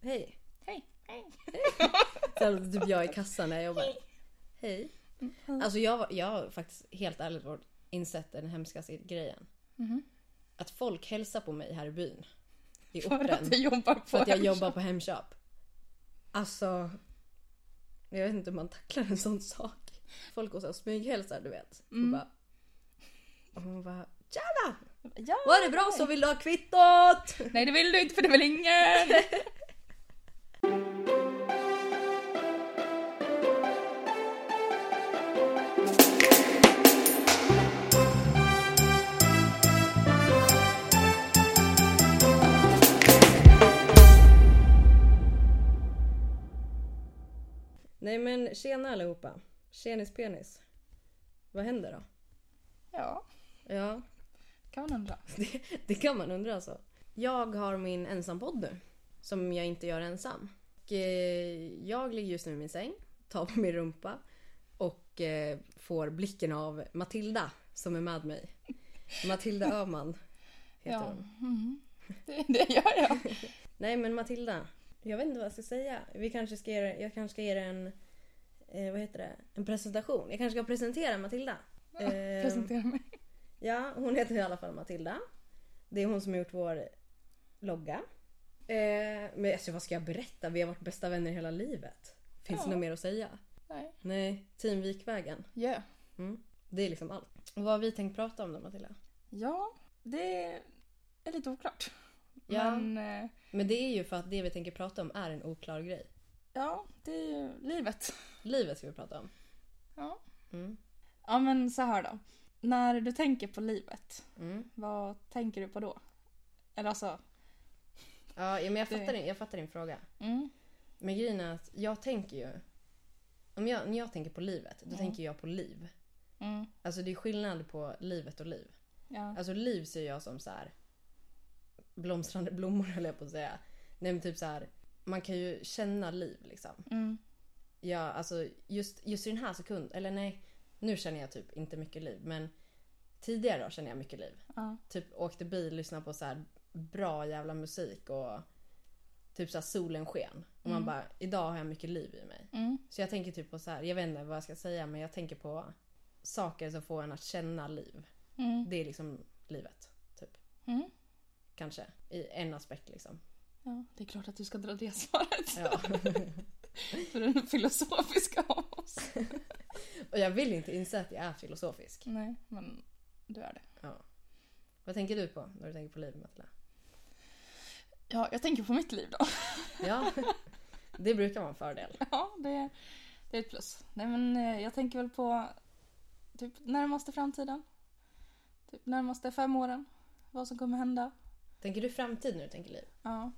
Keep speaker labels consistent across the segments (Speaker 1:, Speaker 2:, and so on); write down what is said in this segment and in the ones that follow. Speaker 1: Hej.
Speaker 2: Hej. Hej.
Speaker 1: Så här låter typ jag i kassan när jag jobbar. Hej.
Speaker 2: Mm.
Speaker 1: Alltså jag, var- jag har faktiskt helt ärligt varit- insett den hemskaste grejen.
Speaker 2: Mm-hmm.
Speaker 1: Att folk hälsar på mig här i byn. I
Speaker 2: För att
Speaker 1: orten.
Speaker 2: du jobbar på
Speaker 1: För att jag
Speaker 2: Hemköp.
Speaker 1: jobbar på Hemköp. Alltså. Jag vet inte hur man tacklar en sån sak. Folk går såhär smyghälsar du vet. Och,
Speaker 2: Mm.
Speaker 1: bara, och man bara Tjena!
Speaker 2: Ja.
Speaker 1: Var det bra så vill du ha kvittot!
Speaker 2: Nej det vill du inte för det vill ingen.
Speaker 1: Nej men tjena allihopa. Tjenis penis. Vad händer då?
Speaker 2: ja,
Speaker 1: Ja,
Speaker 2: kan man undra.
Speaker 1: det, det kan man undra alltså. Jag har min ensampodd nu. Som jag inte gör ensam. Och, eh, jag ligger just nu i min säng, tar på min rumpa och eh, får blicken av Matilda som är med mig. Matilda Öhman heter
Speaker 2: Ja.
Speaker 1: hon.
Speaker 2: Mm. Det, det gör jag.
Speaker 1: Ehm. Nej men Matilda, jag vet inte vad jag ska säga. Vi kanske ska ge, jag kanske ska ge dig en, eh, vad heter det? en presentation. Jag kanske ska presentera Matilda. Ehm,
Speaker 2: Presentera mig.
Speaker 1: Ja, hon heter i alla fall Matilda. Det är hon som har gjort vår logga. Eh, men alltså, vad ska jag berätta? Vi har varit bästa vänner hela livet. Finns
Speaker 2: Ja.
Speaker 1: det något mer att säga?
Speaker 2: Nej.
Speaker 1: Nej, Team Vikvägen.
Speaker 2: Yeah.
Speaker 1: Mm. Det är liksom allt. Och vad har vi tänkt prata om då Matilda?
Speaker 2: Ja, det är lite oklart.
Speaker 1: Ja.
Speaker 2: Men eh,
Speaker 1: Men det är ju för att det vi tänker prata om är en oklar grej.
Speaker 2: ja, det är ju livet.
Speaker 1: Livet ska vi prata om.
Speaker 2: Ja.
Speaker 1: Mm.
Speaker 2: ja men så här då. När du tänker på livet,
Speaker 1: Mm.
Speaker 2: vad tänker du på då? Eller alltså,
Speaker 1: Ja, ja, men jag
Speaker 2: Det-
Speaker 1: fattar, din, jag fattar din fråga.
Speaker 2: mm,
Speaker 1: Men grejen är att jag tänker ju... Om jag, när jag tänker på livet, då
Speaker 2: Mm.
Speaker 1: tänker jag på liv.
Speaker 2: mm,
Speaker 1: Alltså det är skillnad på livet och liv.
Speaker 2: ja.
Speaker 1: Alltså liv ser jag som så här blomstrande blommor höll jag på att säga. Nej men typ så här, man kan ju känna liv liksom.
Speaker 2: Mm,
Speaker 1: Ja, alltså just, just i den här sekunden, eller nej, nu känner jag typ inte mycket liv men tidigare då känner jag mycket liv.
Speaker 2: ja.
Speaker 1: Typ åkte bil, lyssnade på så här bra jävla musik och typ så här solen sken. Och man
Speaker 2: Mm.
Speaker 1: bara, idag har jag mycket liv i mig.
Speaker 2: Mm,
Speaker 1: Så jag tänker typ på så här, jag vet inte vad jag ska säga men jag tänker på saker som får en att känna liv.
Speaker 2: mm,
Speaker 1: Det är liksom livet, typ.
Speaker 2: mm.
Speaker 1: Kanske. I en aspekt liksom.
Speaker 2: Ja, det är klart att du ska dra det svaret.
Speaker 1: Ja.
Speaker 2: För den filosofiska av oss.
Speaker 1: Och jag vill inte inse att jag är filosofisk.
Speaker 2: Nej, men du är det.
Speaker 1: Ja. Vad tänker du på när du tänker på liv, Matilda?
Speaker 2: Ja, jag tänker på mitt liv då.
Speaker 1: Ja, det brukar vara en fördel.
Speaker 2: Ja, det, det är ett plus. Nej, men eh, jag tänker väl på typ närmaste framtiden. Typ närmaste fem åren. Vad som kommer hända.
Speaker 1: Tänker du framtid när du tänker liv?
Speaker 2: Ja,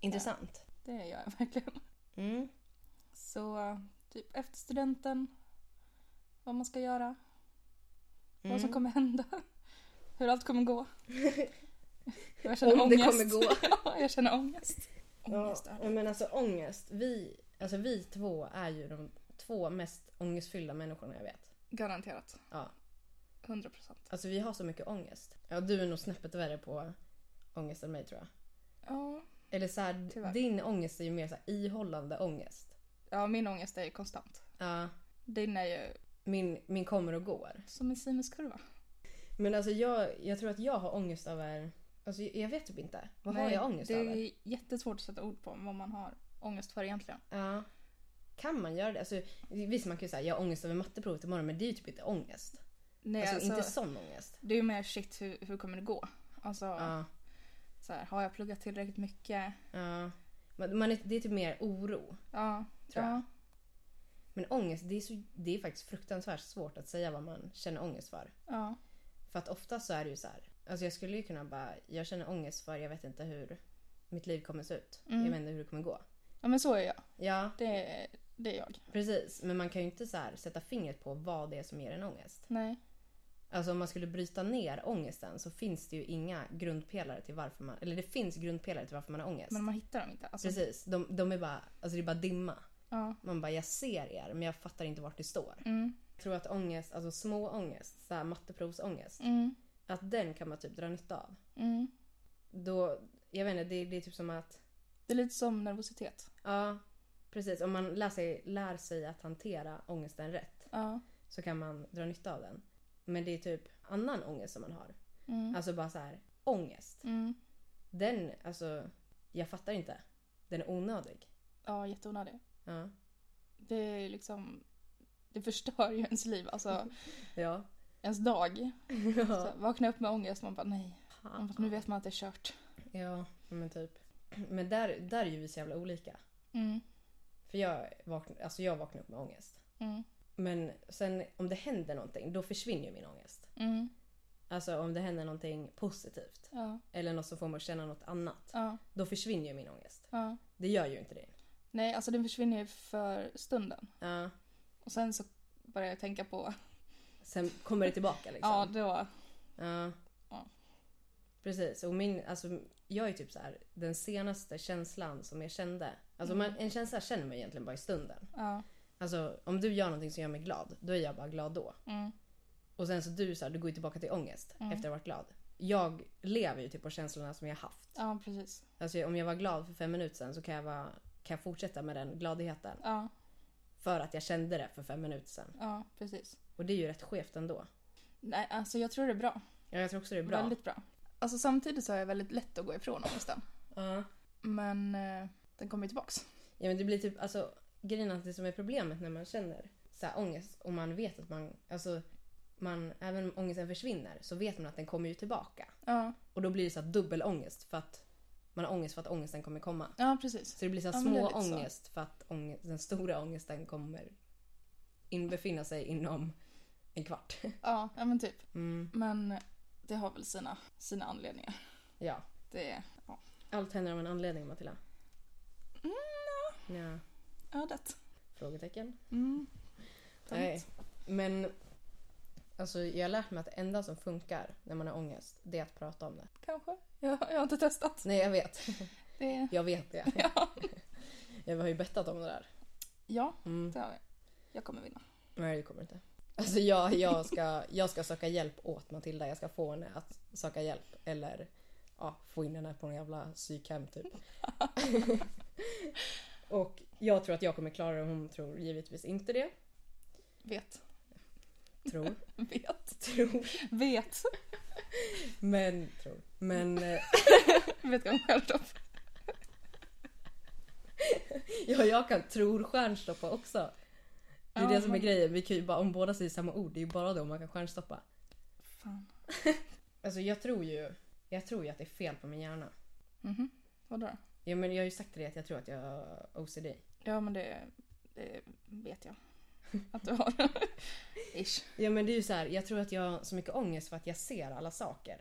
Speaker 1: Intressant.
Speaker 2: det gör jag verkligen.
Speaker 1: Mm.
Speaker 2: Så eh, typ efter studenten. Vad man ska göra. Vad som
Speaker 1: Mm.
Speaker 2: kommer hända. Hur allt kommer gå. Jag
Speaker 1: Om det kommer gå.
Speaker 2: ja, jag känner ångest. Ångest
Speaker 1: Ja,
Speaker 2: är det.
Speaker 1: men alltså ångest. Vi, alltså, vi två är ju de två mest ångestfyllda människorna jag vet.
Speaker 2: Garanterat.
Speaker 1: Ja.
Speaker 2: 100 procent.
Speaker 1: Alltså vi har så mycket ångest. Ja, du är nog snäppet värre på ångest än mig tror jag.
Speaker 2: Ja.
Speaker 1: Eller så här,
Speaker 2: Tyvärr.
Speaker 1: din ångest är ju mer så här ihållande ångest.
Speaker 2: ja, min ångest är ju konstant.
Speaker 1: Ja.
Speaker 2: Din är ju
Speaker 1: min, min kommer och går.
Speaker 2: som en sinuskurva.
Speaker 1: Men alltså jag, jag tror att jag har ångest över... Alltså jag jag vet typ inte. Vad har
Speaker 2: Nej,
Speaker 1: jag ångest
Speaker 2: det
Speaker 1: över?
Speaker 2: är jättesvårt att sätta ord på vad man har ångest för egentligen.
Speaker 1: Ja. Kan man göra det? Alltså, visst man kan ju säga jag har ångest över matteprovet imorgon men det är ju typ inte ångest.
Speaker 2: Nej,
Speaker 1: alltså,
Speaker 2: alltså,
Speaker 1: inte sån ångest.
Speaker 2: Det är ju mer shit, hur, hur kommer det gå? Alltså,
Speaker 1: Ja.
Speaker 2: så här, har jag pluggat tillräckligt mycket?
Speaker 1: ja. Man, man är, det är typ mer oro.
Speaker 2: Ja,
Speaker 1: Tror
Speaker 2: ja.
Speaker 1: Men ångest det är, så, det är faktiskt fruktansvärt svårt att säga vad man känner ångest för.
Speaker 2: ja.
Speaker 1: För att ofta så är det ju så här. Alltså jag skulle ju kunna bara, jag känner ångest för jag vet inte hur mitt liv kommer se ut.
Speaker 2: Mm.
Speaker 1: Jag vet inte hur det kommer gå.
Speaker 2: Ja, men så är jag.
Speaker 1: Ja,
Speaker 2: Det, är- det är jag.
Speaker 1: Precis, men man kan ju inte så här sätta fingret på vad det är som ger en ångest.
Speaker 2: Nej.
Speaker 1: Alltså om man skulle bryta ner ångesten så finns det ju inga grundpelare till varför man... Eller det finns grundpelare till varför man har ångest.
Speaker 2: Men man hittar dem inte. Alltså,
Speaker 1: Precis, de, de är bara... Alltså det är bara dimma.
Speaker 2: ja.
Speaker 1: Man bara, jag ser er men jag fattar inte vart det står.
Speaker 2: Mm,
Speaker 1: Jag tror att ångest, alltså små ångest, så här matteprovsångest,
Speaker 2: mm,
Speaker 1: att den kan man typ dra nytta av.
Speaker 2: mm.
Speaker 1: Då, jag vet inte, det, det är typ som att
Speaker 2: Det är lite som nervositet.
Speaker 1: Ja, precis. Om man lär sig, lär sig att hantera ångesten rätt
Speaker 2: Ja.
Speaker 1: så kan man dra nytta av den. Men det är typ annan ångest som man har.
Speaker 2: Mm.
Speaker 1: Alltså bara så här, ångest.
Speaker 2: Mm.
Speaker 1: Den, alltså, jag fattar inte. Den är onödig.
Speaker 2: Ja, jätteonödig.
Speaker 1: Ja.
Speaker 2: Det är liksom... Det förstör ju ens liv, alltså
Speaker 1: Ja.
Speaker 2: ens dag.
Speaker 1: ja.
Speaker 2: Så vakna upp med ångest man bara nej. Man bara, nu
Speaker 1: Fan.
Speaker 2: vet man att det är kört.
Speaker 1: Ja, men typ. Men där, där är ju vi så jävla olika.
Speaker 2: Mm.
Speaker 1: För jag vaknar, alltså jag vaknar upp med ångest.
Speaker 2: Mm.
Speaker 1: Men sen om det händer någonting, då försvinner ju min ångest.
Speaker 2: Mm.
Speaker 1: Alltså om det händer någonting positivt.
Speaker 2: Ja.
Speaker 1: Eller något som får mig att känna något annat.
Speaker 2: Ja.
Speaker 1: Då försvinner ju min ångest.
Speaker 2: Ja.
Speaker 1: Det gör ju inte det.
Speaker 2: Nej, alltså den försvinner ju för stunden.
Speaker 1: Ja.
Speaker 2: Och sen så börjar jag tänka på...
Speaker 1: Sen kommer det tillbaka liksom.
Speaker 2: Ja, då.
Speaker 1: Ja.
Speaker 2: Ja.
Speaker 1: Precis. Och min, alltså, jag är typ så här, den senaste känslan som jag kände. Alltså,
Speaker 2: Mm.
Speaker 1: man, en känsla känner man egentligen bara i stunden.
Speaker 2: Ja.
Speaker 1: Alltså, om du gör någonting som gör mig glad, då är jag bara glad då.
Speaker 2: Mm.
Speaker 1: Och sen så du så här, du går ju tillbaka till ångest
Speaker 2: Mm.
Speaker 1: efter att ha varit glad. Jag lever ju typ på känslorna som jag haft.
Speaker 2: Ja, precis.
Speaker 1: Alltså, om jag var glad för fem minuter sedan så kan jag, vara, kan jag fortsätta med den gladheten.
Speaker 2: Ja,
Speaker 1: För att jag kände det för fem minuter sedan.
Speaker 2: ja, precis.
Speaker 1: Och det är ju rätt skevt ändå.
Speaker 2: Nej, alltså jag tror det är bra.
Speaker 1: Ja, jag tror också det är bra.
Speaker 2: Väldigt bra. Alltså samtidigt så har jag väldigt lätt att gå ifrån ångesten.
Speaker 1: Ja.
Speaker 2: Men eh, den kommer ju tillbaks.
Speaker 1: Ja men det blir typ, alltså grejen är att det som är problemet när man känner så här, ångest och man vet att man, alltså man, även om ångesten försvinner så vet man att den kommer ju tillbaka.
Speaker 2: Ja,
Speaker 1: Och då blir det så här dubbel ångest för att man har ångest för att ångesten kommer komma.
Speaker 2: ja precis.
Speaker 1: Så det blir så här
Speaker 2: Ja, men det är
Speaker 1: små
Speaker 2: lite så.
Speaker 1: ångest för att ångest, den stora ångesten kommer inbefinna sig inom en kvart.
Speaker 2: Ja, ja men typ.
Speaker 1: Mm,
Speaker 2: Men det har väl sina, sina anledningar.
Speaker 1: ja.
Speaker 2: Det är... Ja,
Speaker 1: Allt händer av en anledning Matilda.
Speaker 2: Mm,
Speaker 1: Ja.
Speaker 2: ödet.
Speaker 1: Frågetecken.
Speaker 2: Mm.
Speaker 1: Nej. Eh, Men alltså, jag har lärt mig att det enda som funkar när man har ångest, det är att prata om det.
Speaker 2: Kanske. Jag, jag har inte testat.
Speaker 1: Nej, jag vet.
Speaker 2: Det är...
Speaker 1: Jag vet det.
Speaker 2: Ja.
Speaker 1: Jag har ju bettat om det där.
Speaker 2: ja,
Speaker 1: Mm.
Speaker 2: det har vi. Jag kommer vinna.
Speaker 1: Nej, det kommer inte. Alltså jag, jag, ska, jag ska söka hjälp åt Matilda. Jag ska få henne att söka hjälp. Eller ja, få in henne på en jävla psykhem typ. Och jag tror att jag kommer klara det. Hon tror givetvis inte det.
Speaker 2: Vet.
Speaker 1: Tror.
Speaker 2: Vet.
Speaker 1: Tror.
Speaker 2: Vet.
Speaker 1: Men tror. Men eh,
Speaker 2: Vet jag själv då.
Speaker 1: Ja, jag kan tror stjärnstoppa också. Det är
Speaker 2: Ja,
Speaker 1: det som är
Speaker 2: men-
Speaker 1: grejen. Vi kan ju bara, om båda säger samma ord, det är ju bara då man kan stjärnstoppa.
Speaker 2: Fan.
Speaker 1: Alltså jag tror ju, jag tror ju att det är fel på min hjärna.
Speaker 2: Mhm. Vadå då?
Speaker 1: Ja, men jag har ju sagt till dig att jag tror att jag har OCD.
Speaker 2: Ja, men det, det vet jag att du har. Ish.
Speaker 1: Ja men det är ju så här, jag tror att jag har så mycket ångest för att jag ser alla saker.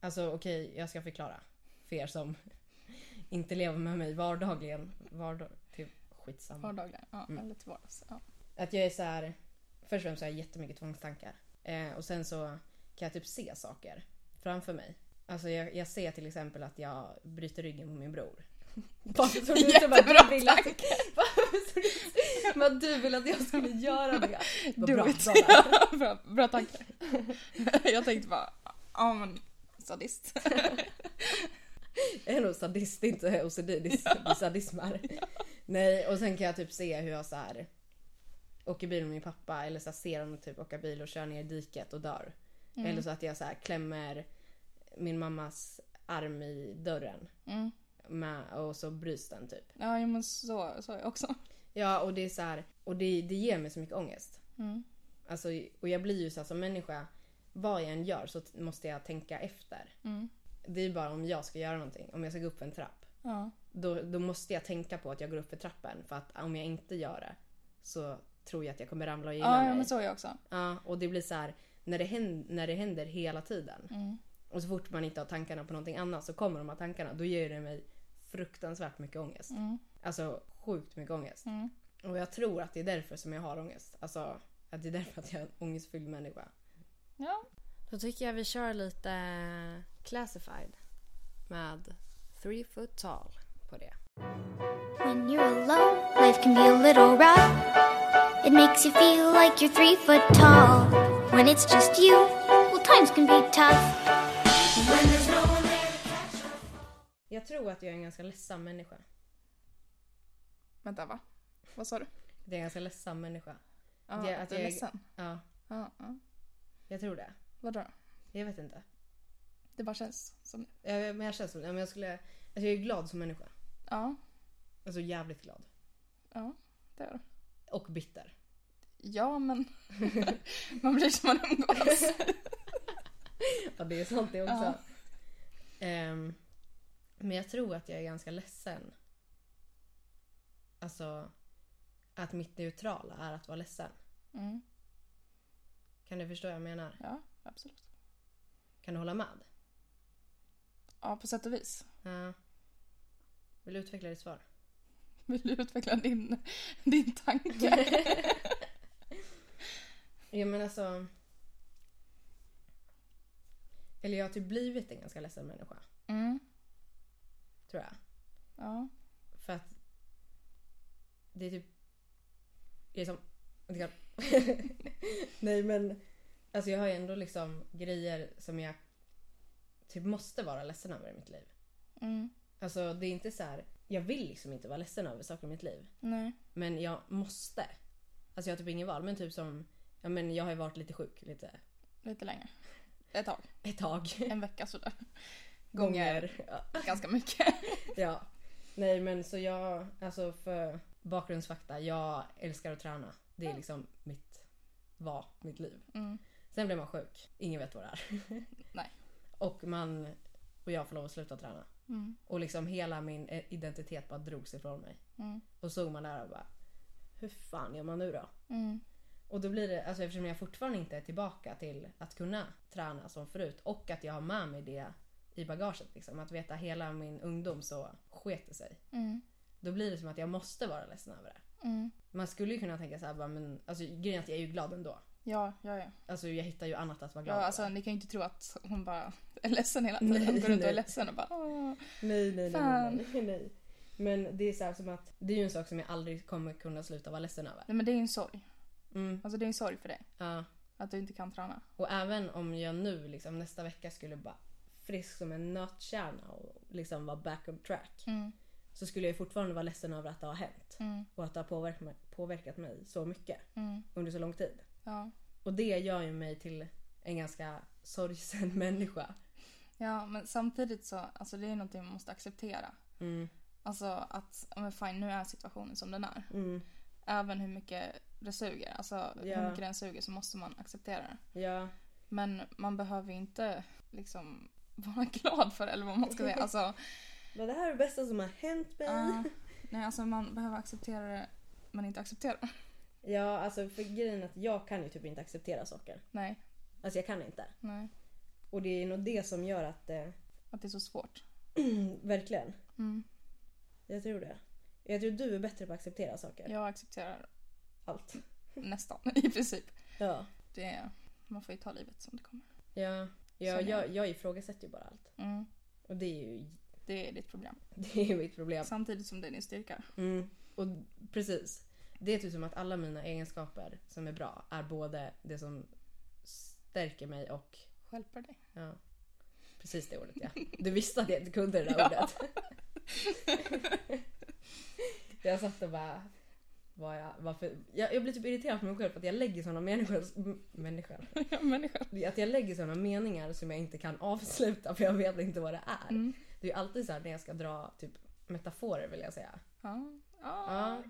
Speaker 1: Alltså okej, jag ska förklara. För er som inte lever med mig vardagligen. Vardag... Till skitsamma.
Speaker 2: Vardagligen. Ja,
Speaker 1: Mm.
Speaker 2: Eller till vardags. Ja.
Speaker 1: Att jag är så här. Först och främst så har jag jättemycket tvångstankar. Eh, och sen så kan jag typ se saker framför mig. Alltså jag, jag ser till exempel att jag bryter ryggen på min bror. Varför tror du
Speaker 2: typ
Speaker 1: inte bara
Speaker 2: Jättebra
Speaker 1: du vill att,
Speaker 2: typ.
Speaker 1: Varför tror du- men att du vill att jag skulle göra det? Vad
Speaker 2: Do
Speaker 1: bra,
Speaker 2: it.
Speaker 1: bra där.
Speaker 2: bra, bra tanke. jag tänkte bara, ja men sadist.
Speaker 1: Jag är nog sadist, inte OCD. Det är det är sadism här. Nej, och sen kan jag typ se hur jag så här åker bil med min pappa eller så här, ser honom typ åka bil och kör ner i diket och dör.
Speaker 2: Mm.
Speaker 1: Eller så att jag så här klämmer min mammas arm i dörren
Speaker 2: Mm.
Speaker 1: med, och så bryts den typ.
Speaker 2: Ja, jo, men så, så är jag också.
Speaker 1: Ja, och det är så här, och det, det ger mig så mycket ångest.
Speaker 2: Mm.
Speaker 1: Alltså, och jag blir ju så här som människa, vad jag än gör så t- måste jag tänka efter.
Speaker 2: Mm.
Speaker 1: Det är bara om jag ska göra någonting, om jag ska gå upp för en trapp.
Speaker 2: Ja.
Speaker 1: då, då måste jag tänka på att jag går upp för trappen för att om jag inte gör det så tror jag att jag kommer ramla och gilla
Speaker 2: Ja,
Speaker 1: mig.
Speaker 2: ja, men så är jag också.
Speaker 1: ja, och det blir så här när det, händer, när det händer hela tiden
Speaker 2: Mm.
Speaker 1: och så fort man inte har tankarna på någonting annat så kommer de här tankarna. Då ger det mig fruktansvärt mycket ångest.
Speaker 2: Mm.
Speaker 1: Alltså sjukt mycket ångest.
Speaker 2: Mm.
Speaker 1: Och jag tror att det är därför som jag har ångest. Alltså att det är därför att jag är en ångestfylld människa.
Speaker 2: Ja.
Speaker 1: Då tycker jag vi kör lite classified med three foot tall på det.
Speaker 3: When you're alone, life can be a little rough. It makes you feel like you're three foot tall. When it's just you, well, times can be tough. When there's no one there to catch
Speaker 1: Jag jag tror att jag är en ganska ledsam människa.
Speaker 2: Vänta, va? Vad sa du?
Speaker 1: Det är en ganska ledsam människa.
Speaker 2: Ja,
Speaker 1: Det-
Speaker 2: att
Speaker 1: att
Speaker 2: du är
Speaker 1: jag-
Speaker 2: ledsen?
Speaker 1: Ja,
Speaker 2: Ja, ja.
Speaker 1: jag tror det.
Speaker 2: Vadå?
Speaker 1: Jag vet inte.
Speaker 2: Det bara känns som det.
Speaker 1: Jag, men jag känns som ja, men jag skulle... Alltså jag är glad som människa.
Speaker 2: Ja,
Speaker 1: Alltså jävligt glad.
Speaker 2: ja, det är det.
Speaker 1: Och bitter.
Speaker 2: Ja, men man blir som man umgås.
Speaker 1: Ja, det är sant det också.
Speaker 2: Ja.
Speaker 1: Ehm, men jag tror att jag är ganska ledsen. Alltså, att mitt neutrala är att vara ledsen.
Speaker 2: Mm,
Speaker 1: Kan du förstå vad jag menar?
Speaker 2: ja, absolut.
Speaker 1: Kan du hålla med?
Speaker 2: Ja, på sätt och vis.
Speaker 1: Ja. Vill du utveckla ditt svar?
Speaker 2: Vill du utveckla din, din tanke?
Speaker 1: Ja men alltså... Eller jag har typ blivit en ganska ledsen människa,
Speaker 2: Mm,
Speaker 1: tror jag.
Speaker 2: ja.
Speaker 1: För att det är typ... Det är som... det kan- Nej men alltså jag har ju ändå liksom grejer som jag typ måste vara ledsen över i mitt liv.
Speaker 2: Mm,
Speaker 1: Alltså det är inte så här. jag vill liksom inte vara ledsen över saker i mitt liv.
Speaker 2: nej.
Speaker 1: Men jag måste. Alltså jag har typ ingen val men typ som, ja men jag har ju varit lite sjuk lite
Speaker 2: Lite längre. Ett tag.
Speaker 1: ett tag.
Speaker 2: En vecka sådär.
Speaker 1: Ja.
Speaker 2: Ganska mycket.
Speaker 1: ja. Nej men så jag, alltså för bakgrundsfakta, jag älskar att träna. Det är liksom mitt, var mitt liv.
Speaker 2: Mm.
Speaker 1: Sen blir man sjuk, ingen vet vad det är.
Speaker 2: Nej.
Speaker 1: Och man, och jag får lov att sluta träna.
Speaker 2: Mm.
Speaker 1: Och liksom hela min eh, identitet bara drogs ifrån mig.
Speaker 2: Mm.
Speaker 1: Och så såg man där och bara, hur fan gör man nu då?
Speaker 2: Mm.
Speaker 1: Och då blir det, alltså eftersom jag fortfarande inte är tillbaka till att kunna träna som förut och att jag har med mig det i bagaget liksom. Att veta hela min ungdom så sket det sig.
Speaker 2: Mm.
Speaker 1: Då blir det som att jag måste vara ledsen över det.
Speaker 2: Mm.
Speaker 1: Man skulle ju kunna tänka så här, bara, men alltså grejen är att jag är ju glad ändå.
Speaker 2: Ja, ja, ja.
Speaker 1: Alltså jag hittar ju annat att vara glad
Speaker 2: ja
Speaker 1: över.
Speaker 2: alltså, ni kan ju inte tro att hon bara är ledsen hela tiden. Hon
Speaker 1: Nej,
Speaker 2: går runt och
Speaker 1: nej.
Speaker 2: är ledsen och bara Åh.
Speaker 1: Nej, nej, nej,
Speaker 2: Fan.
Speaker 1: nej, nej, nej. Men det är så här som att det är ju en sak som jag aldrig kommer kunna sluta vara ledsen över.
Speaker 2: Nej men det är ju en sorg.
Speaker 1: Mm,
Speaker 2: Alltså det är en sorg för dig.
Speaker 1: ja.
Speaker 2: Att du inte kan träna.
Speaker 1: Och även om jag nu liksom nästa vecka skulle bara frisk som en nötkärna och liksom vara back on track.
Speaker 2: Mm.
Speaker 1: Så skulle jag fortfarande vara ledsen över att det har hänt.
Speaker 2: Mm.
Speaker 1: Och att det har påverkat mig, påverkat mig så mycket
Speaker 2: Mm.
Speaker 1: under så lång tid.
Speaker 2: Ja.
Speaker 1: Och det gör ju mig till en ganska sorgsen människa.
Speaker 2: ja, men samtidigt så, alltså det är ju någonting man måste acceptera.
Speaker 1: Mm,
Speaker 2: Alltså att, ja, men fine, nu är situationen som den är.
Speaker 1: mm,
Speaker 2: Även hur mycket det suger, alltså
Speaker 1: Ja.
Speaker 2: hur mycket den suger så måste man acceptera det.
Speaker 1: ja.
Speaker 2: Men man behöver ju inte liksom vara glad för det eller vad man ska säga. Alltså,
Speaker 1: Men det här är det bästa som har hänt mig.
Speaker 2: ja. nej, alltså man behöver acceptera det man inte accepterar.
Speaker 1: Ja, alltså för grejen är att jag kan ju typ inte acceptera saker.
Speaker 2: Nej,
Speaker 1: Alltså jag kan inte.
Speaker 2: nej.
Speaker 1: Och det är nog det som gör att det...
Speaker 2: Att det är så svårt.
Speaker 1: verkligen.
Speaker 2: Mm.
Speaker 1: Jag tror det. Jag tror du är bättre på att acceptera saker.
Speaker 2: Jag accepterar
Speaker 1: Allt.
Speaker 2: nästan i princip.
Speaker 1: Ja.
Speaker 2: Det är, man får ju ta livet som det kommer.
Speaker 1: Ja. ja
Speaker 2: Som jag.
Speaker 1: jag, jag ifrågasätter ju bara allt.
Speaker 2: Mm.
Speaker 1: Och det är ju
Speaker 2: Det är ditt problem.
Speaker 1: det är ju mitt problem.
Speaker 2: Samtidigt som det är din styrka.
Speaker 1: Mm. Och precis. Det är typ som att alla mina egenskaper som är bra är både det som stärker mig och...
Speaker 2: Hjälper dig.
Speaker 1: Ja. Precis det ordet ja. Du visste att jag inte kunde det där
Speaker 2: Ja.
Speaker 1: ordet. jag satt och bara... Var jag, varför, jag, jag blir typ irriterad på mig själv för att jag lägger sådana människor... m- Människor?
Speaker 2: Ja, människa.
Speaker 1: Att jag lägger sådana meningar som jag inte kan avsluta för jag vet inte vad det är.
Speaker 2: Mm.
Speaker 1: Det är ju alltid så här när jag ska dra typ metaforer vill jag säga.
Speaker 2: Ja.
Speaker 1: Ja.
Speaker 2: ja.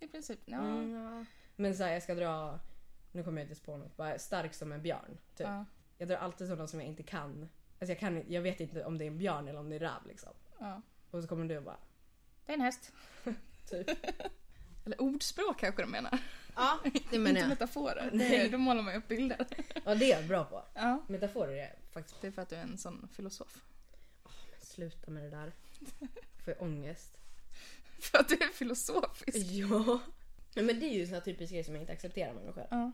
Speaker 2: I princip. Ja.
Speaker 1: Mm, ja. Men så här, jag ska dra, nu kommer jag inte på något, bara stark som en björn. Typ.
Speaker 2: Ja.
Speaker 1: Jag drar alltid sådana som jag inte kan. Alltså jag, kan jag vet inte om det är en björn eller om det är en räv liksom.
Speaker 2: ja.
Speaker 1: Och så kommer du och bara,
Speaker 2: Det är en häst.
Speaker 1: typ.
Speaker 2: Eller ordspråk kanske de menar.
Speaker 1: ja, det menar
Speaker 2: Inte
Speaker 1: jag.
Speaker 2: metaforer.
Speaker 1: Nej.
Speaker 2: Nej. Då målar man ju upp bilder.
Speaker 1: Ja, det är jag bra på.
Speaker 2: Ja.
Speaker 1: Metaforer är jag faktiskt...
Speaker 2: Det är för att du är en sån filosof.
Speaker 1: Men Sluta med det där. Får jag ångest.
Speaker 2: För att du är filosofisk.
Speaker 1: Ja. Nej, Men det är ju såna typiska grejer som jag inte accepterar med mig själv.
Speaker 2: Ja.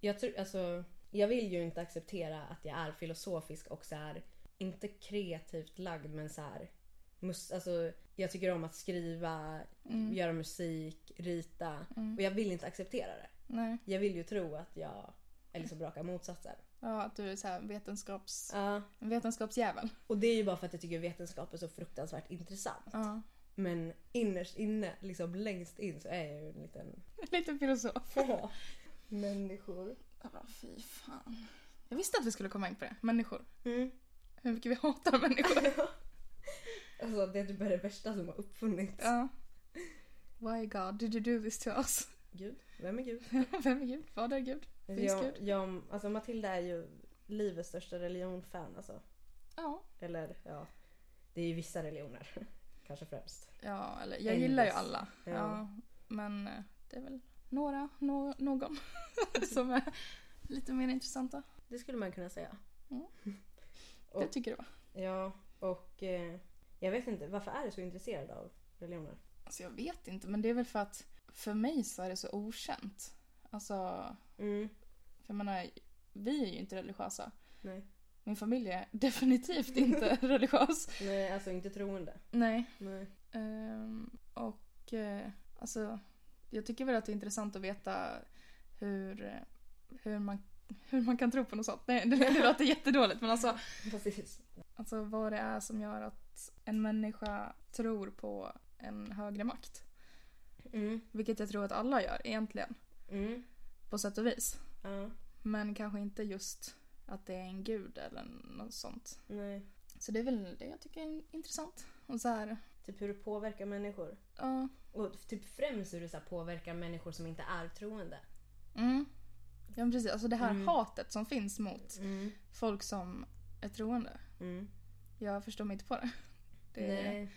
Speaker 1: Jag, tror, alltså, jag vill ju inte acceptera att jag är filosofisk och så här, inte kreativt lagd men så här, mus, alltså, jag tycker om att skriva, göra musik, Mm. rita och jag vill inte acceptera det.
Speaker 2: Nej.
Speaker 1: Jag vill ju tro att jag är liksom raka motsatsen.
Speaker 2: Ja, att du är så här vetenskaps...
Speaker 1: Ja.
Speaker 2: en vetenskapsjävel.
Speaker 1: Och det är ju bara för att jag tycker vetenskap är så fruktansvärt intressant.
Speaker 2: Ja.
Speaker 1: Men innerst inne, liksom längst in så är jag ju en liten
Speaker 2: Lite filosof.
Speaker 1: få människor.
Speaker 2: Ja, fy fan. Jag visste att vi skulle komma in på det. Människor.
Speaker 1: Mm.
Speaker 2: Hur mycket vi hatar människor.
Speaker 1: Alltså det är typ det värsta som har uppfunnits.
Speaker 2: ja. Why God did you do this to us?
Speaker 1: Gud, vem är Gud?
Speaker 2: Vem är Gud? Vad är Gud? Finns
Speaker 1: Jag,
Speaker 2: Gud?
Speaker 1: jag, alltså Matilda är ju livets största religionfan alltså.
Speaker 2: Ja.
Speaker 1: Eller ja, det är ju vissa religioner. Kanske främst. Ehm,
Speaker 2: Ja, eller jag gillar ju
Speaker 1: Endast.
Speaker 2: alla.
Speaker 1: Ja.
Speaker 2: Ja. men eh, det är väl några, nå någon som är lite mer intressanta.
Speaker 1: Det skulle man kunna säga.
Speaker 2: Mm. Det
Speaker 1: Och-
Speaker 2: tycker du va?
Speaker 1: Ja, och eh, jag vet inte, varför är du så intresserad av religioner?
Speaker 2: Alltså jag vet inte, men det är väl för att för mig så är det så okänt. Alltså,
Speaker 1: Mm,
Speaker 2: för jag menar, vi är ju inte religiösa.
Speaker 1: nej.
Speaker 2: Min familj är definitivt inte religiös.
Speaker 1: nej, alltså inte troende.
Speaker 2: Nej.
Speaker 1: Nej.
Speaker 2: Ehm, och eh, alltså, jag tycker väl att det är intressant att veta hur, eh, hur, man, hur man kan tro på något sånt. Nej, det, det låter jättedåligt men alltså,
Speaker 1: Precis.
Speaker 2: alltså vad det är som gör att en människa tror på en högre makt.
Speaker 1: Mm,
Speaker 2: Vilket jag tror att alla gör egentligen,
Speaker 1: mm,
Speaker 2: på sätt och vis.
Speaker 1: ja,
Speaker 2: Men kanske inte just att det är en gud eller något sånt.
Speaker 1: nej.
Speaker 2: Så det är väl det jag tycker är intressant. Och så här,
Speaker 1: Typ hur du påverkar människor.
Speaker 2: ja.
Speaker 1: Och typ främst hur du så här, påverkar människor som inte är troende.
Speaker 2: Mm. Ja men precis, alltså det här
Speaker 1: Mm.
Speaker 2: hatet som finns mot
Speaker 1: Mm,
Speaker 2: folk som är troende.
Speaker 1: mm.
Speaker 2: Jag förstår mig inte på det. det
Speaker 1: Nej.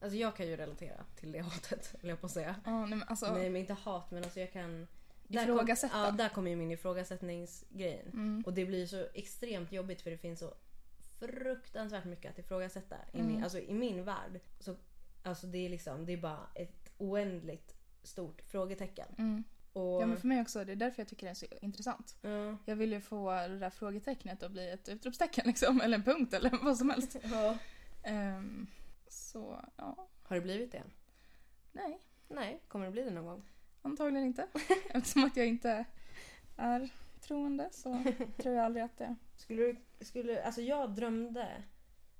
Speaker 1: Alltså jag kan ju relatera till det hatet, höll jag på att säga.
Speaker 2: Ja, nej men alltså,
Speaker 1: Nej men inte hat men alltså jag kan...
Speaker 2: Ifrågasätta.
Speaker 1: Kom, ja, där kommer ju min ifrågasättningsgrejen.
Speaker 2: Mm.
Speaker 1: Och det blir så extremt jobbigt för det finns så fruktansvärt mycket att ifrågasätta. I,
Speaker 2: Mm.
Speaker 1: min, alltså, I min värld så alltså, det är liksom, det är bara ett oändligt stort frågetecken.
Speaker 2: Mm.
Speaker 1: Och,
Speaker 2: Ja, men för mig också, det är därför jag tycker det är så intressant.
Speaker 1: ja,
Speaker 2: Jag vill ju få det där frågetecknet att bli ett utropstecken liksom, eller en punkt eller vad som helst.
Speaker 1: ja.
Speaker 2: Ehm, så ja,
Speaker 1: Har det blivit det än?
Speaker 2: nej,
Speaker 1: Nej, kommer det bli det någon gång?
Speaker 2: antagligen inte. Eftersom att jag inte är troende så tror jag aldrig att det...
Speaker 1: Skulle du, skulle, alltså jag drömde.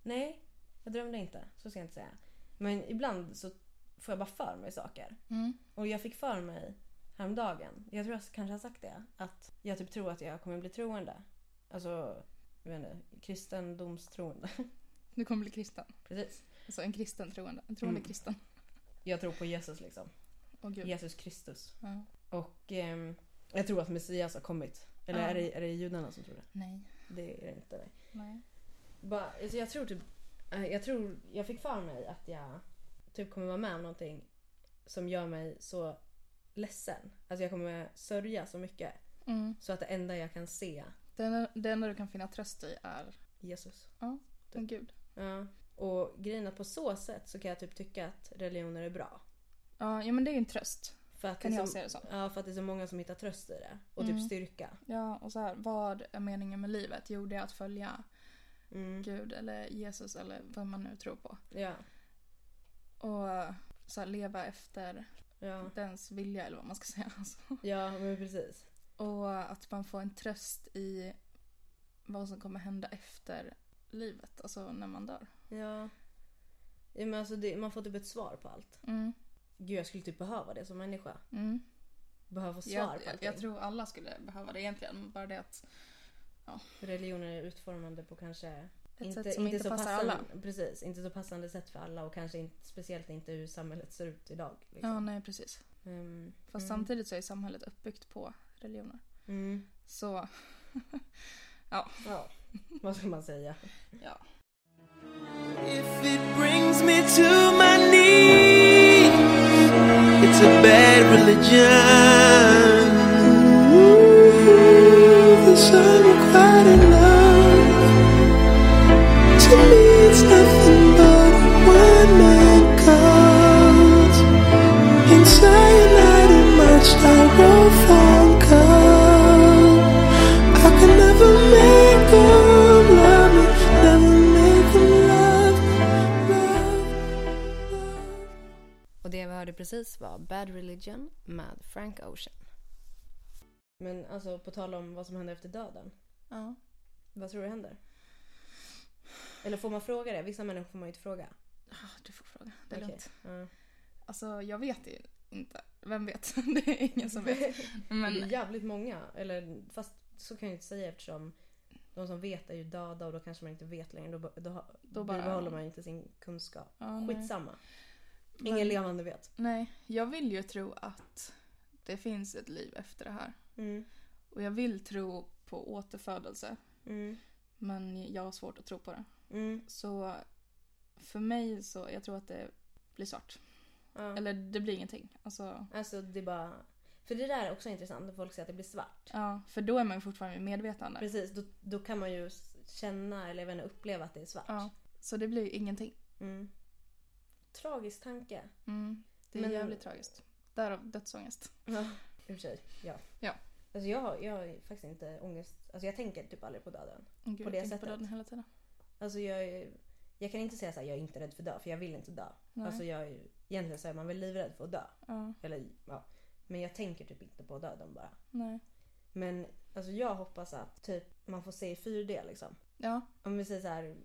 Speaker 1: Nej, jag drömde inte. Så ska jag inte säga. Men ibland så får jag bara för mig saker.
Speaker 2: Mm.
Speaker 1: Och jag fick för mig häromdagen, jag tror jag kanske har sagt det, att jag typ tror att jag kommer bli troende. Alltså, jag vet inte, kristendomstroende.
Speaker 2: Du kommer bli kristen.
Speaker 1: Precis.
Speaker 2: Alltså en kristen troende. En troende
Speaker 1: Mm.
Speaker 2: kristen.
Speaker 1: Jag tror på Jesus liksom.
Speaker 2: Åh gud.
Speaker 1: Jesus Kristus.
Speaker 2: Ja.
Speaker 1: Och ehm, jag tror att Messias har kommit. Eller
Speaker 2: Ja.
Speaker 1: är, det, är det judarna som tror det?
Speaker 2: Nej.
Speaker 1: Det är det inte. Nej.
Speaker 2: Nej.
Speaker 1: Bara, alltså jag tror typ, eh, jag tror, jag fick för mig att jag typ kommer vara med om någonting som gör mig så ledsen. Alltså jag kommer sörja så mycket.
Speaker 2: Mm.
Speaker 1: Så att det enda jag kan se
Speaker 2: Det, enda, det enda du kan finna tröst i är
Speaker 1: Jesus.
Speaker 2: en gud.
Speaker 1: Ja. Och grejen är att på så sätt så kan jag typ tycka att religioner är bra.
Speaker 2: Ja, ja men det är ju en tröst.
Speaker 1: För att
Speaker 2: Kan
Speaker 1: det är
Speaker 2: jag
Speaker 1: så,
Speaker 2: se det som.
Speaker 1: Ja, för att det är så många som hittar tröst i det. Och typ
Speaker 2: Mm.
Speaker 1: styrka.
Speaker 2: Ja, och så här, vad är meningen med livet? Jo, det är att följa
Speaker 1: Mm.
Speaker 2: Gud eller Jesus eller vad man nu tror på.
Speaker 1: Ja,
Speaker 2: Och så här, leva efter
Speaker 1: ja,
Speaker 2: dens vilja eller vad man ska säga. Alltså.
Speaker 1: ja, men precis.
Speaker 2: Och att man får en tröst i vad som kommer hända efter livet, alltså när man dör.
Speaker 1: Ja. ja men alltså det, man får typ ett svar på allt.
Speaker 2: Mm.
Speaker 1: Gud, jag skulle typ behöva det som människa.
Speaker 2: Mm.
Speaker 1: Behöva få svar
Speaker 2: Jag,
Speaker 1: på
Speaker 2: jag,
Speaker 1: allting.
Speaker 2: jag tror alla skulle behöva det egentligen, bara det att
Speaker 1: Religioner är utformande på kanske...
Speaker 2: ett sätt som inte, passar
Speaker 1: passande,
Speaker 2: alla.
Speaker 1: Precis, inte så passande sätt för alla och kanske inte, speciellt inte hur samhället ser ut idag. Liksom.
Speaker 2: Ja, nej precis.
Speaker 1: Mm,
Speaker 2: Fast
Speaker 1: mm,
Speaker 2: samtidigt så är samhället uppbyggt på religioner.
Speaker 1: Mm.
Speaker 2: Så
Speaker 1: Ja, vad ska man säga?
Speaker 2: ja.
Speaker 4: If it brings me to my knees, it's a bad religion. Ooh, this unrequited love to me it's nothing but one man calls. Inside not a much I will find God. I could never make them love me, never make them love, love.
Speaker 1: Och det vi hörde precis var Bad Religion med Frank Ocean. Men alltså på tal om vad som händer efter döden.
Speaker 2: Ja.
Speaker 1: Vad tror du händer? Eller får man fråga det? Vissa människor får man ju inte fråga.
Speaker 2: Ah, Du får fråga. Det är
Speaker 1: Okej.
Speaker 2: lugnt.
Speaker 1: Ja.
Speaker 2: Alltså jag vet ju inte. Vem vet? Det är ingen som vet. Men
Speaker 1: Det är jävligt många. Eller, fast så kan jag ju inte säga eftersom de som vet är ju döda och då kanske man inte vet längre. Då, ba- då, ha-
Speaker 2: Då
Speaker 1: då
Speaker 2: bara-
Speaker 1: behåller man ju inte sin kunskap.
Speaker 2: ja, nej.
Speaker 1: Skitsamma.
Speaker 2: Men-
Speaker 1: Ingen levande vet.
Speaker 2: Nej, jag vill ju tro att det finns ett liv efter det här.
Speaker 1: Mm.
Speaker 2: Och jag vill tro på återfödelse.
Speaker 1: Mm.
Speaker 2: Men jag har svårt att tro på det.
Speaker 1: Mm.
Speaker 2: Så för mig så, jag tror att det blir svart.
Speaker 1: Ja.
Speaker 2: Eller det blir ingenting. Alltså,
Speaker 1: Alltså det är bara... För det där är också intressant när folk säger att det blir svart.
Speaker 2: ja, för då är man ju fortfarande vid medvetande.
Speaker 1: Precis, då, då kan man ju s- känna eller även uppleva att det är svart.
Speaker 2: Ja, så det blir ju ingenting.
Speaker 1: Mm. Tragisk tanke.
Speaker 2: Mm, det är
Speaker 1: Men-
Speaker 2: jävligt tragiskt. Därav dödsångest.
Speaker 1: Ja. I och för sig, ja.
Speaker 2: Ja.
Speaker 1: Alltså jag, har- jag har ju faktiskt inte ångest. Alltså jag tänker typ aldrig på döden.
Speaker 2: Åh, Gud,
Speaker 1: På det
Speaker 2: jag tänker på
Speaker 1: sättet.
Speaker 2: döden hela tiden.
Speaker 1: Alltså jag, är- jag kan inte säga att jag är inte rädd för dö, för jag vill inte dö.
Speaker 2: Nej.
Speaker 1: Alltså jag är, ju- egentligen så är man väl livrädd för att dö.
Speaker 2: Ja,
Speaker 1: Eller, ja. Men jag tänker typ inte på döden bara.
Speaker 2: nej.
Speaker 1: Men alltså jag hoppas att typ man får se i 4D liksom.
Speaker 2: Ja,
Speaker 1: Om vi säger så här,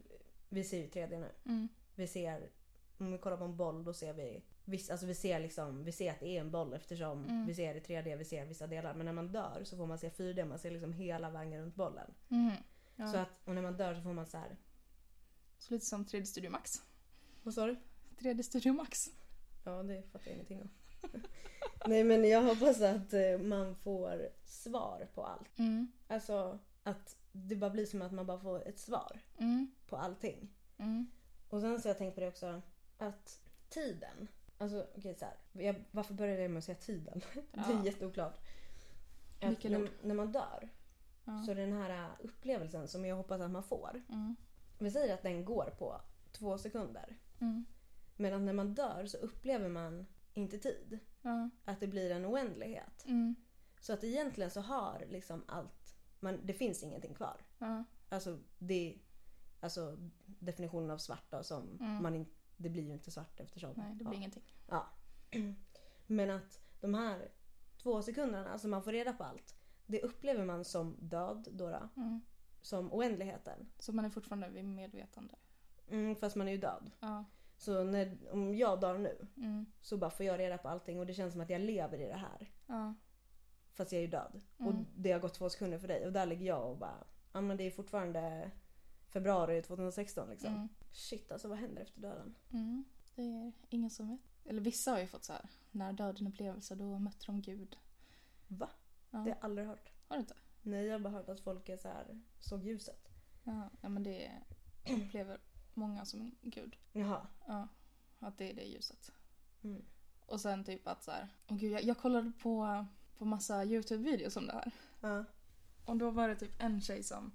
Speaker 1: vi ser ju 3D nu.
Speaker 2: mm,
Speaker 1: Vi ser, om vi kollar på en boll då ser vi, viss, alltså vi ser liksom, vi ser att det är en boll eftersom
Speaker 2: Mm.
Speaker 1: vi ser i 3D, vi ser vissa delar. Men när man dör så får man se 4D, man ser liksom hela vägen runt bollen.
Speaker 2: mhm. Ja.
Speaker 1: Så att, och när man dör så får man så här.
Speaker 2: Så lite som 3D Studio Max.
Speaker 1: Vad sa du?
Speaker 2: 3D Studio Max.
Speaker 1: Ja, det fattar jag ingenting om. Nej men jag hoppas att eh, man får svar på allt.
Speaker 2: Mm,
Speaker 1: Alltså att det bara blir som att man bara får ett svar
Speaker 2: mm,
Speaker 1: på allting.
Speaker 2: mm,
Speaker 1: Och sen så har jag tänkt på det också att tiden. Alltså okej så här. Jag, varför började jag med att säga tiden? Det är
Speaker 2: Ja.
Speaker 1: jätteoklart. Att
Speaker 2: Mycket
Speaker 1: när,
Speaker 2: ord.
Speaker 1: när man dör
Speaker 2: Ja.
Speaker 1: så den här äh, upplevelsen som jag hoppas att man får.
Speaker 2: mm,
Speaker 1: Vi säger att den går på två sekunder.
Speaker 2: mm.
Speaker 1: Medan när man dör så upplever man inte tid.
Speaker 2: Ja,
Speaker 1: Att det blir en oändlighet.
Speaker 2: mm,
Speaker 1: Så att egentligen så har liksom allt, man, det finns ingenting kvar.
Speaker 2: ja,
Speaker 1: Alltså det alltså definitionen av svart då, som
Speaker 2: Mm.
Speaker 1: man in, det blir ju inte svart eftersom.
Speaker 2: nej det blir
Speaker 1: ja.
Speaker 2: ingenting.
Speaker 1: ja. Men att de här två sekunderna, alltså man får reda på allt. Det upplever man som död då, då
Speaker 2: Mm.
Speaker 1: som oändligheten.
Speaker 2: Så man är fortfarande vid medvetande.
Speaker 1: Mm, fast man är ju död.
Speaker 2: Ja,
Speaker 1: Så när, om jag dör nu
Speaker 2: mm,
Speaker 1: så bara får jag reda på allting och det känns som att jag lever i det här.
Speaker 2: ja,
Speaker 1: Fast jag är ju död.
Speaker 2: Mm.
Speaker 1: Och det har gått två sekunder för dig och där ligger jag och bara, ja men det är fortfarande februari 2016 liksom.
Speaker 2: mm,
Speaker 1: Shit alltså vad händer efter döden?
Speaker 2: mm. Det är ingen som vet. Eller vissa har ju fått så här, när döden upplevelse då mötte de Gud.
Speaker 1: Va?
Speaker 2: Ja.
Speaker 1: Det har jag aldrig hört.
Speaker 2: Har du inte?
Speaker 1: Nej, jag har bara hört att folk är så här, såg ljuset.
Speaker 2: Ja, ja men det är- upplever många som Gud.
Speaker 1: Jaha.
Speaker 2: Ja, att det är det ljuset.
Speaker 1: Mm.
Speaker 2: Och sen typ att så här, åh gud jag, jag kollade på, på massa YouTube-videos om det här.
Speaker 1: Ja.
Speaker 2: Och då var det typ en tjej som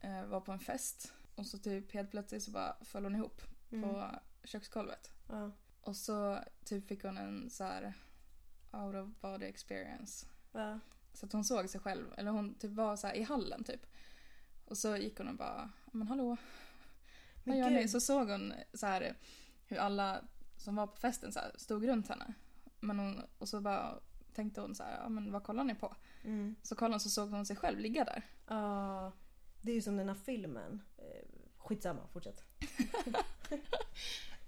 Speaker 2: eh, var på en fest och så typ helt plötsligt så bara föll hon ihop
Speaker 1: Mm.
Speaker 2: på köksgolvet.
Speaker 1: Ja.
Speaker 2: Och så typ fick hon en så här out of body experience.
Speaker 1: Ja.
Speaker 2: Så att hon såg sig själv, eller hon typ var så här i hallen typ. Och så gick hon och bara, men hallå, vad
Speaker 1: Men
Speaker 2: gör
Speaker 1: gud.
Speaker 2: ni? Så såg hon så här hur alla som var på festen så här stod runt henne. Men hon, och så bara tänkte hon så här, ja men vad kollar ni på?
Speaker 1: Mm.
Speaker 2: Så kollade hon så såg hon sig själv ligga där.
Speaker 1: Ja. Det är ju som den här filmen. Eh, Skitsamma, fortsätt.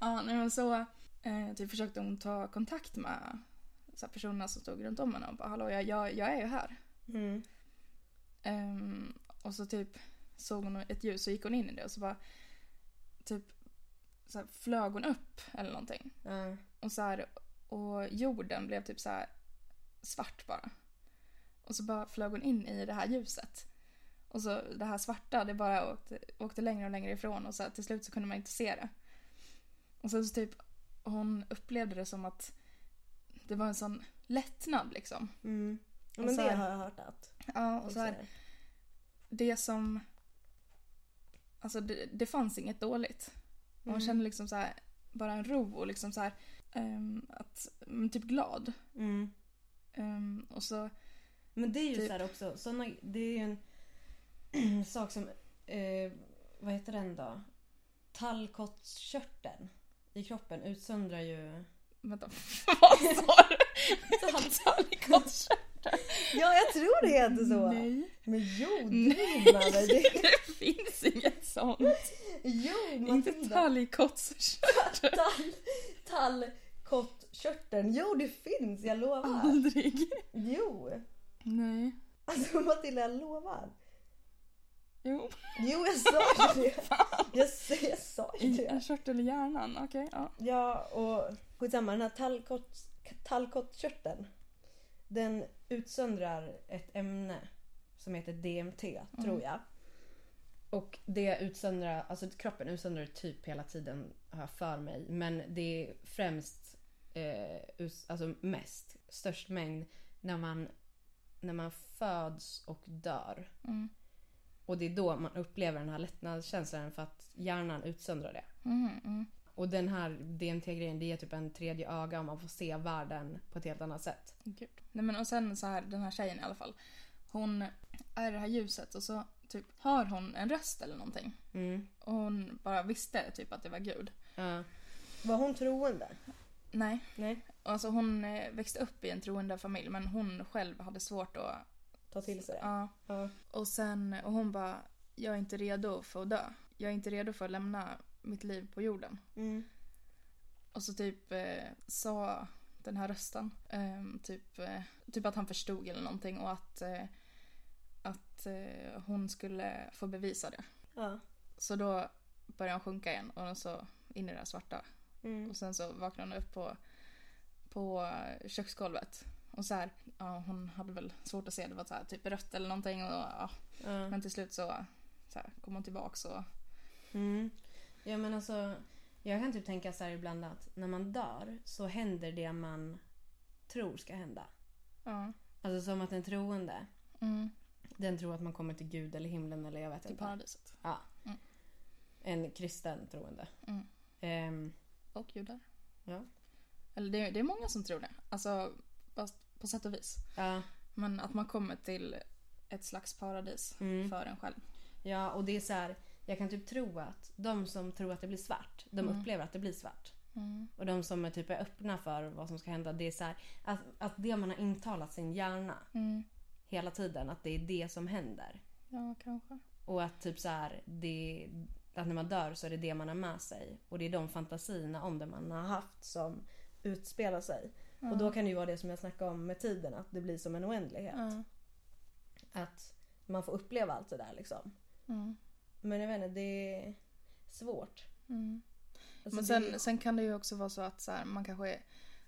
Speaker 2: Ja, nej, men så eh, typ försökte hon ta kontakt med så här, personerna som stod runt om henne och bara hallå jag, jag, jag är ju här.
Speaker 1: Mm.
Speaker 2: Ehm, och så typ såg hon ett ljus så gick hon in i det och så bara typ så här, flög hon upp eller någonting.
Speaker 1: Ja.
Speaker 2: Och så här, och jorden blev typ så här svart bara. Och så bara flög hon in i det här ljuset. Och så det här svarta det bara åkte, åkte längre och längre ifrån och så här, till slut så kunde man inte se det. Och sen så typ hon upplevde det som att det var en sån lättnad liksom.
Speaker 1: Mm. Ja,
Speaker 2: Och
Speaker 1: men
Speaker 2: så
Speaker 1: det
Speaker 2: här-
Speaker 1: har jag hört att
Speaker 2: Ja, och
Speaker 1: folk
Speaker 2: så här,
Speaker 1: säger.
Speaker 2: det som... Alltså det, det fanns inget dåligt. Och hon
Speaker 1: Mm.
Speaker 2: kände liksom så här, bara en ro och liksom så här, ehm, att, men typ glad.
Speaker 1: Mm.
Speaker 2: Ehm, och så,
Speaker 1: Men det är ju
Speaker 2: Typ.
Speaker 1: så här också, såna, det är ju en sak som, eh, vad heter den då? Tallkottskörteln i kroppen utsöndrar ju...
Speaker 2: vänta, vad sa du? Tallkottkörteln?
Speaker 1: Ja, jag tror det heter så!
Speaker 2: Nej.
Speaker 5: Men jo,
Speaker 2: Nej.
Speaker 5: gud Nanne. Det...
Speaker 2: Det finns inget sånt.
Speaker 5: Jo,
Speaker 2: Inte
Speaker 5: Matilda.
Speaker 2: talgkottkörtel.
Speaker 5: Tall, tall, kott, körteln. Jo, det finns, jag lovar.
Speaker 2: Aldrig.
Speaker 5: Jo.
Speaker 2: Nej.
Speaker 5: Alltså Matilda, jag lovar.
Speaker 2: Jo.
Speaker 5: Jo, jag sa ju det. Jag, sa- jag sa ju
Speaker 2: I, en
Speaker 5: det.
Speaker 2: körtel i hjärnan. Okej. ja.
Speaker 5: Ja, och skitsamma. Den här tallkott, tallkottkörteln. Den utsöndrar ett ämne som heter DMT, tror jag.
Speaker 1: Och det utsöndrar, alltså kroppen utsöndrar typ hela tiden har jag för mig. Men det är främst, eh, us, alltså mest, störst mängd när man, när man föds och dör.
Speaker 2: Mm.
Speaker 1: Och det är då man upplever den här lättnadskänslan för att hjärnan utsöndrar det.
Speaker 2: Mm, mm.
Speaker 1: Och den här DMT-grejen det är typ en tredje öga och man får se världen på ett helt annat sätt.
Speaker 2: Gud. Nej men och sen så här, den här tjejen i alla fall. Hon är i det här ljuset och så typ hör hon en röst eller någonting.
Speaker 1: Mm.
Speaker 2: Och hon bara visste typ att det var Gud.
Speaker 1: Ja.
Speaker 5: Var hon troende?
Speaker 2: Nej.
Speaker 5: Nej.
Speaker 2: Och Alltså hon eh, växte upp i en troende familj men hon själv hade svårt att...
Speaker 5: Ta till sig det.
Speaker 2: Ja.
Speaker 5: Ja.
Speaker 2: Och sen, och hon bara, jag är inte redo för att dö. Jag är inte redo för att lämna mitt liv på jorden.
Speaker 5: Mm.
Speaker 2: Och så typ eh, sa den här rösten ehm, typ, eh, typ att han förstod eller någonting och att, eh, att eh, hon skulle få bevisa det.
Speaker 5: Ja.
Speaker 2: Så då började han sjunka igen och så in i det här svarta.
Speaker 5: Mm.
Speaker 2: Och sen så vaknade hon upp på, på köksgolvet. Och så här, ja, hon hade väl svårt att se, det var så här, typ rött eller någonting. Och, ja.
Speaker 1: Ja.
Speaker 2: Men till slut så, så här, kom hon tillbaks och...
Speaker 1: Mm. Ja men alltså, jag kan typ tänka så här ibland att när man dör så händer det man tror ska hända.
Speaker 2: Ja.
Speaker 1: Alltså som att en troende,
Speaker 2: Mm,
Speaker 1: den tror att man kommer till gud eller himlen eller jag vet
Speaker 2: till
Speaker 1: inte.
Speaker 2: paradiset.
Speaker 1: Ja.
Speaker 2: Mm.
Speaker 1: En kristen troende.
Speaker 2: Mm.
Speaker 1: Ehm,
Speaker 2: Och judar.
Speaker 1: Ja.
Speaker 2: Eller det, det är många som tror det. Alltså, fast på sätt och vis.
Speaker 1: ja.
Speaker 2: Men att man kommer till ett slags paradis
Speaker 1: Mm.
Speaker 2: för en själv.
Speaker 1: ja och det är så här, jag kan typ tro att de som tror att det blir svart, de
Speaker 2: Mm.
Speaker 1: upplever att det blir svart.
Speaker 2: Mm.
Speaker 1: Och de som är typ är öppna för vad som ska hända, det är så här, att, att det man har intalat sin hjärna
Speaker 2: Mm.
Speaker 1: hela tiden, att det är det som händer.
Speaker 2: Ja, kanske.
Speaker 1: Och att typ så här, det, att när man dör så är det det man har med sig. Och det är de fantasierna om det man har haft som
Speaker 5: Utspela sig. Och då kan det ju vara det som jag snackade om med tiden, att det blir som en oändlighet.
Speaker 2: Ja.
Speaker 5: Att man får uppleva allt det där liksom.
Speaker 2: Mm.
Speaker 5: Men jag vet inte, det är svårt.
Speaker 2: Mm.
Speaker 5: Alltså,
Speaker 2: Men
Speaker 5: det
Speaker 2: sen, sen kan det ju också vara så att så här, man kanske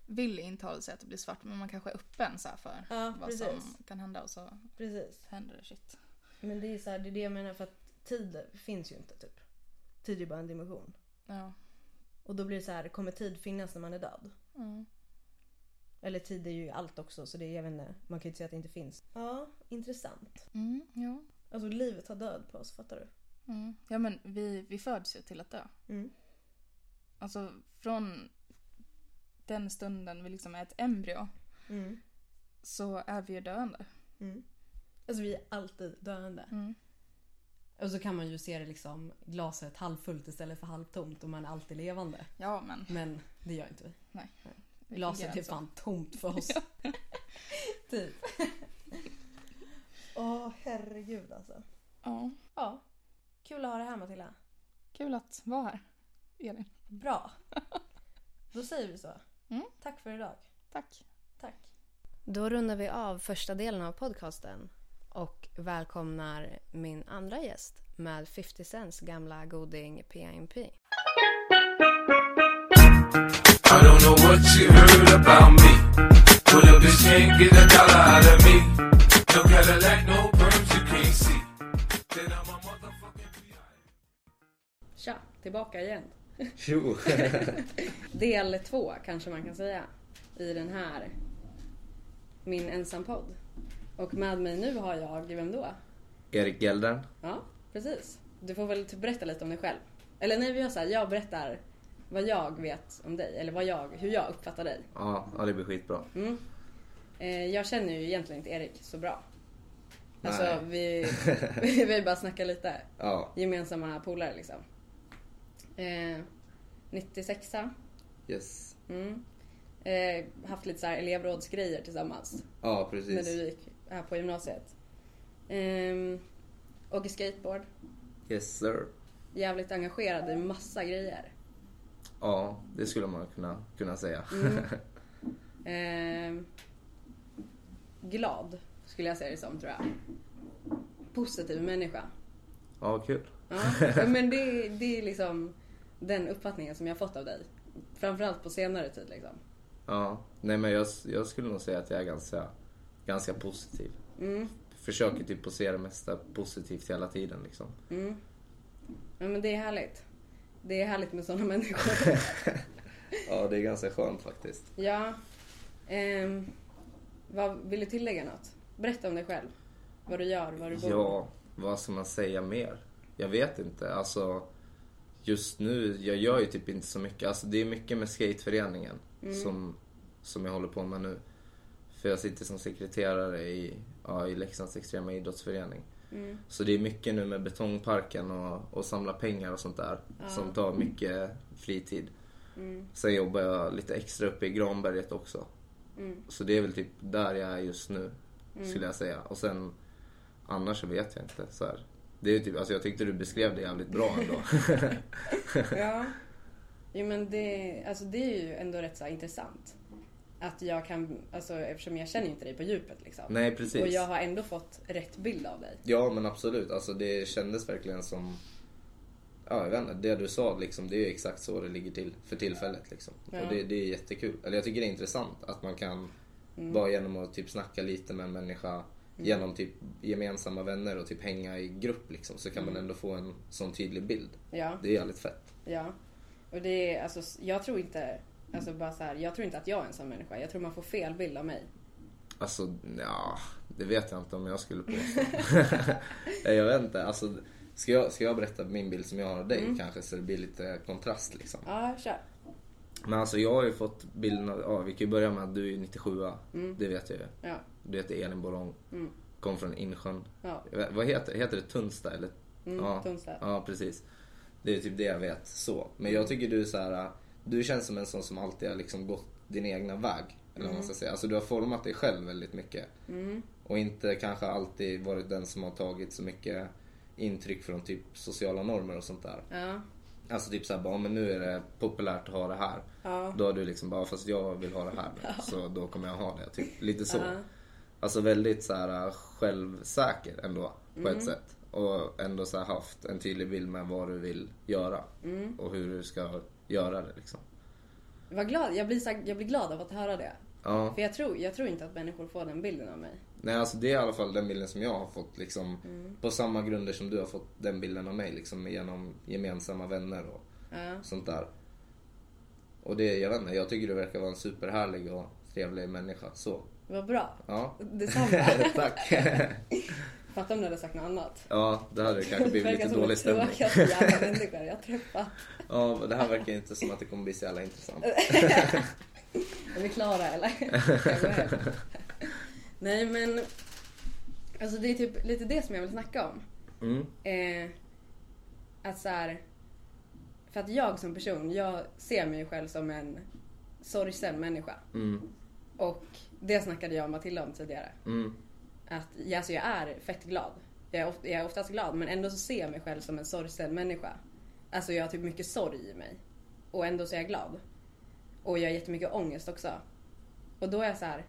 Speaker 2: vill intala sig att det blir svart men man kanske är öppen så här, för
Speaker 5: Ja,
Speaker 2: vad
Speaker 5: precis.
Speaker 2: som kan hända och så
Speaker 5: Precis.
Speaker 2: händer det shit.
Speaker 5: Men det är så här, det är det jag menar för att tid finns ju inte typ. Tid är ju bara en dimension.
Speaker 2: Ja.
Speaker 5: Och då blir det så här, kommer tid finnas när man är död?
Speaker 2: Mm.
Speaker 5: Eller tid är ju allt också så det är, jag vet inte, man kan ju inte säga att det inte finns. Ja, intressant.
Speaker 2: Mm, ja.
Speaker 5: Alltså livet tar död på oss, fattar du?
Speaker 2: Mm. ja men vi, vi föds ju till att dö.
Speaker 5: Mm.
Speaker 2: Alltså från den stunden vi liksom är ett embryo
Speaker 5: Mm.
Speaker 2: så är vi ju döende.
Speaker 5: Mm. Alltså vi är alltid döende.
Speaker 2: Mm.
Speaker 1: Och så kan man ju se det liksom glaset halvfullt istället för halvtomt och man är alltid levande.
Speaker 2: Ja men.
Speaker 1: Men det gör inte vi.
Speaker 2: det
Speaker 1: Glaset
Speaker 2: fungerar
Speaker 1: är
Speaker 2: så.
Speaker 1: fan tomt för oss. typ.
Speaker 5: Åh herregud alltså.
Speaker 2: Ja.
Speaker 5: Ja. Kul att ha det här Matilda.
Speaker 2: Kul att vara här. Elin.
Speaker 5: Bra. Då säger vi så.
Speaker 2: Mm.
Speaker 5: Tack för idag.
Speaker 2: Tack.
Speaker 5: Tack.
Speaker 1: Då rundar vi av första delen av podcasten och välkomnar min andra gäst med 50 Cents gamla goding PIMP.
Speaker 6: I don't know what you heard about me. But a bitch can't get a dollar out of me. No Cadillac, no perms you can't see. Then I'm a motherfucking B.I.
Speaker 1: Tja, tillbaka igen.
Speaker 7: Tjo!
Speaker 1: Del två kanske man kan säga i den här Min ensampodd. Och med mig nu har jag, vem då?
Speaker 7: Erik Gelden.
Speaker 1: Ja, precis. Du får väl typ berätta lite om dig själv. Eller nej, vi gör så här, jag berättar vad jag vet om dig, eller vad jag, hur jag uppfattar dig.
Speaker 7: Ja, ja, det blir skitbra.
Speaker 1: Mm. Eh, jag känner ju egentligen inte Erik så bra. Alltså
Speaker 7: Nej.
Speaker 1: vi, vi, vi bara snackar lite.
Speaker 7: Ja,
Speaker 1: Gemensamma polare liksom. Eh, 96
Speaker 7: yes.
Speaker 1: mm. eh, Haft lite så här elevrådsgrejer tillsammans.
Speaker 7: Ja,
Speaker 1: När du
Speaker 7: precis.
Speaker 1: gick här på gymnasiet. Ehm, åker skateboard.
Speaker 7: Yes sir.
Speaker 1: Jävligt engagerad i massa grejer.
Speaker 7: Ja, det skulle man kunna, kunna säga.
Speaker 1: Ehm, glad, skulle jag säga det som, tror jag. Positiv människa.
Speaker 7: ja, kul.
Speaker 1: Ja, men det, det är liksom den uppfattningen som jag fått av dig. Framförallt på senare tid liksom.
Speaker 7: Ja, nej men jag, jag skulle nog säga att jag är ganska, ganska positiv. Försöker typ posera det mesta positivt hela tiden liksom.
Speaker 1: Ja, men det är härligt. Det är härligt med sådana människor.
Speaker 7: Ja, det är ganska skönt faktiskt.
Speaker 1: ja. Ehm, vad, vill du tillägga något? Berätta om dig själv. Vad du gör, var du bor.
Speaker 7: Ja, vad ska man säga mer? Jag vet inte. Alltså, just nu, jag gör ju typ inte så mycket. Alltså, det är mycket med skateföreningen som, som jag håller på med nu. För jag sitter som sekreterare i, ja, i Leksands extrema idrottsförening. Så det är mycket nu med betongparken och, och samla pengar och sånt där. Som tar mycket fritid. Sen jobbar jag lite extra uppe i Granberget också. Så det är väl typ där jag är just nu. Skulle jag säga. Och sen Annars så vet jag inte. Så här. Det är ju typ, alltså jag tyckte du beskrev det jävligt bra ändå.
Speaker 1: Ja. Jo, men det, alltså det är ju ändå rätt så här intressant. Att jag kan, alltså eftersom jag känner ju inte dig på djupet liksom.
Speaker 7: Nej precis.
Speaker 1: Och jag har ändå fått rätt bild av dig.
Speaker 7: Ja men absolut. Alltså det kändes verkligen som... Ja jag vet inte, det du sa liksom, det är ju exakt så det ligger till för tillfället. Liksom.
Speaker 1: Ja.
Speaker 7: Och det, det är jättekul. Eller jag tycker det är intressant att man kan
Speaker 1: Mm.
Speaker 7: bara genom att typ snacka lite med en människa genom typ gemensamma vänner och typ hänga i grupp liksom, så kan man ändå få en sån tydlig bild.
Speaker 1: Mm. Ja.
Speaker 7: Det är jävligt fett.
Speaker 1: Ja. Och det är, alltså, s- jag tror inte, alltså bara så här, jag tror inte att jag är en sån människa. Jag tror man får fel bild av mig.
Speaker 7: Alltså, ja, det vet jag inte om jag skulle påstå. Nej, jag vet inte. Alltså, ska, jag, ska jag berätta min bild som jag har av dig kanske så det blir lite kontrast liksom.
Speaker 1: Ja, kör.
Speaker 7: Men alltså jag har ju fått bilden av, ja, vi kan ju börja med att du är ju 97 Det vet jag ju.
Speaker 1: Ja.
Speaker 7: Du heter Elin Borong. Kom från Insjön.
Speaker 1: Ja.
Speaker 7: Jag vet- Vad heter det? Heter det Tunsta eller? ja.
Speaker 1: Tunsta.
Speaker 7: Ja, precis. Det är typ det jag vet så. Men jag tycker du är så här, äh, du känns som en sån som alltid har liksom gått din egna väg. Eller vad man ska säga. Alltså du har format dig själv väldigt mycket. Och inte kanske alltid varit den som har tagit så mycket intryck från typ sociala normer och sånt där.
Speaker 1: Ja.
Speaker 7: Alltså typ såhär bara, men nu är det populärt att ha det här. Då har du liksom bara, fast jag vill ha det här nu, så då kommer jag ha det. Typ. Lite så. Alltså väldigt såhär självsäker ändå på ett sätt. Och ändå så här haft en tydlig bild med vad du vill göra. Och hur du ska göra det liksom.
Speaker 1: Vad glad, jag blir, så här, jag blir glad av att höra det.
Speaker 7: Ja.
Speaker 1: För jag tror, jag tror inte att människor får den bilden av mig.
Speaker 7: Nej alltså det är i alla fall den bilden som jag har fått liksom. På samma grunder som du har fått den bilden av mig liksom genom gemensamma vänner och
Speaker 1: Ja.
Speaker 7: sånt där. Och det, jag vet inte, jag tycker du verkar vara en superhärlig och trevlig människa. Så,
Speaker 1: Vad bra.
Speaker 7: ja.
Speaker 1: Detsamma.
Speaker 7: Tack.
Speaker 1: Fattar om du hade sagt något annat.
Speaker 7: ja, det hade kanske blivit lite dålig stämning.
Speaker 1: Det verkar som den tråkigaste jävla människan jag träffat.
Speaker 7: Ja, men det här verkar inte som att det kommer bli så jävla intressant.
Speaker 1: Är vi klara eller? Jag går hem. Nej men. Alltså det är typ lite det som jag vill snacka om.
Speaker 7: Mm.
Speaker 1: Eh, att så här, För att jag som person, jag ser mig själv som en sorgsen människa.
Speaker 7: Mm.
Speaker 1: Och det snackade jag och Matilda om tidigare.
Speaker 7: Mm.
Speaker 1: Att ja, alltså jag är fett glad. Jag är, of- jag är oftast glad men ändå så ser jag mig själv som en sorgsen människa. Alltså jag har typ mycket sorg i mig. Och ändå så är jag glad. Och jag har jättemycket ångest också. Och då är jag så här,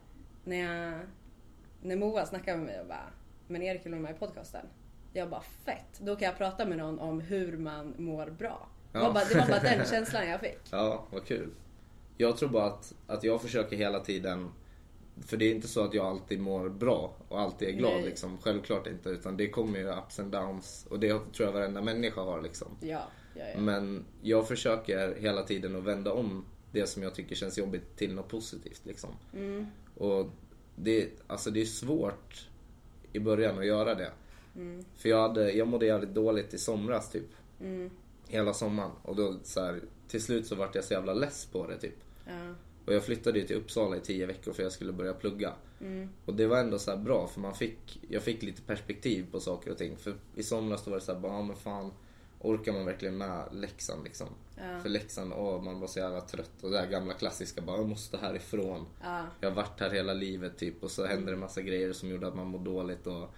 Speaker 1: när jag... När Moa snackar med mig och bara “Men Erik vill vara med i podcasten?” Jag bara “Fett!” Då kan jag prata med någon om hur man mår bra. Det, var
Speaker 7: Ja.
Speaker 1: bara, det var bara den känslan jag fick.
Speaker 7: Ja, vad kul. Jag tror bara att, att jag försöker hela tiden för det är inte så att jag alltid mår bra och alltid är glad
Speaker 1: Nej.
Speaker 7: liksom. Självklart inte. Utan det kommer ju ups and downs. Och det tror jag varenda människa har liksom.
Speaker 1: Ja, ja, ja.
Speaker 7: Men jag försöker hela tiden att vända om det som jag tycker känns jobbigt till något positivt. Liksom.
Speaker 1: Mm.
Speaker 7: Och det, alltså det är svårt i början att göra det.
Speaker 1: Mm.
Speaker 7: För jag, hade, jag mådde jävligt dåligt i somras typ.
Speaker 1: Mm.
Speaker 7: Hela sommaren. Och då så här, till slut så vart jag så jävla less på det typ.
Speaker 1: Ja.
Speaker 7: Och jag flyttade ju till Uppsala i tio veckor för jag skulle börja plugga. Och det var ändå så här bra för man fick, jag fick lite perspektiv på saker och ting. För i somras då var det så här, bara, ja men fan, orkar man verkligen med läxan liksom? För läxan, åh man var så jävla trött. Och det där gamla klassiska, bara jag måste härifrån. Jag har varit här hela livet typ och så hände det massa grejer som gjorde att man mår dåligt. Och,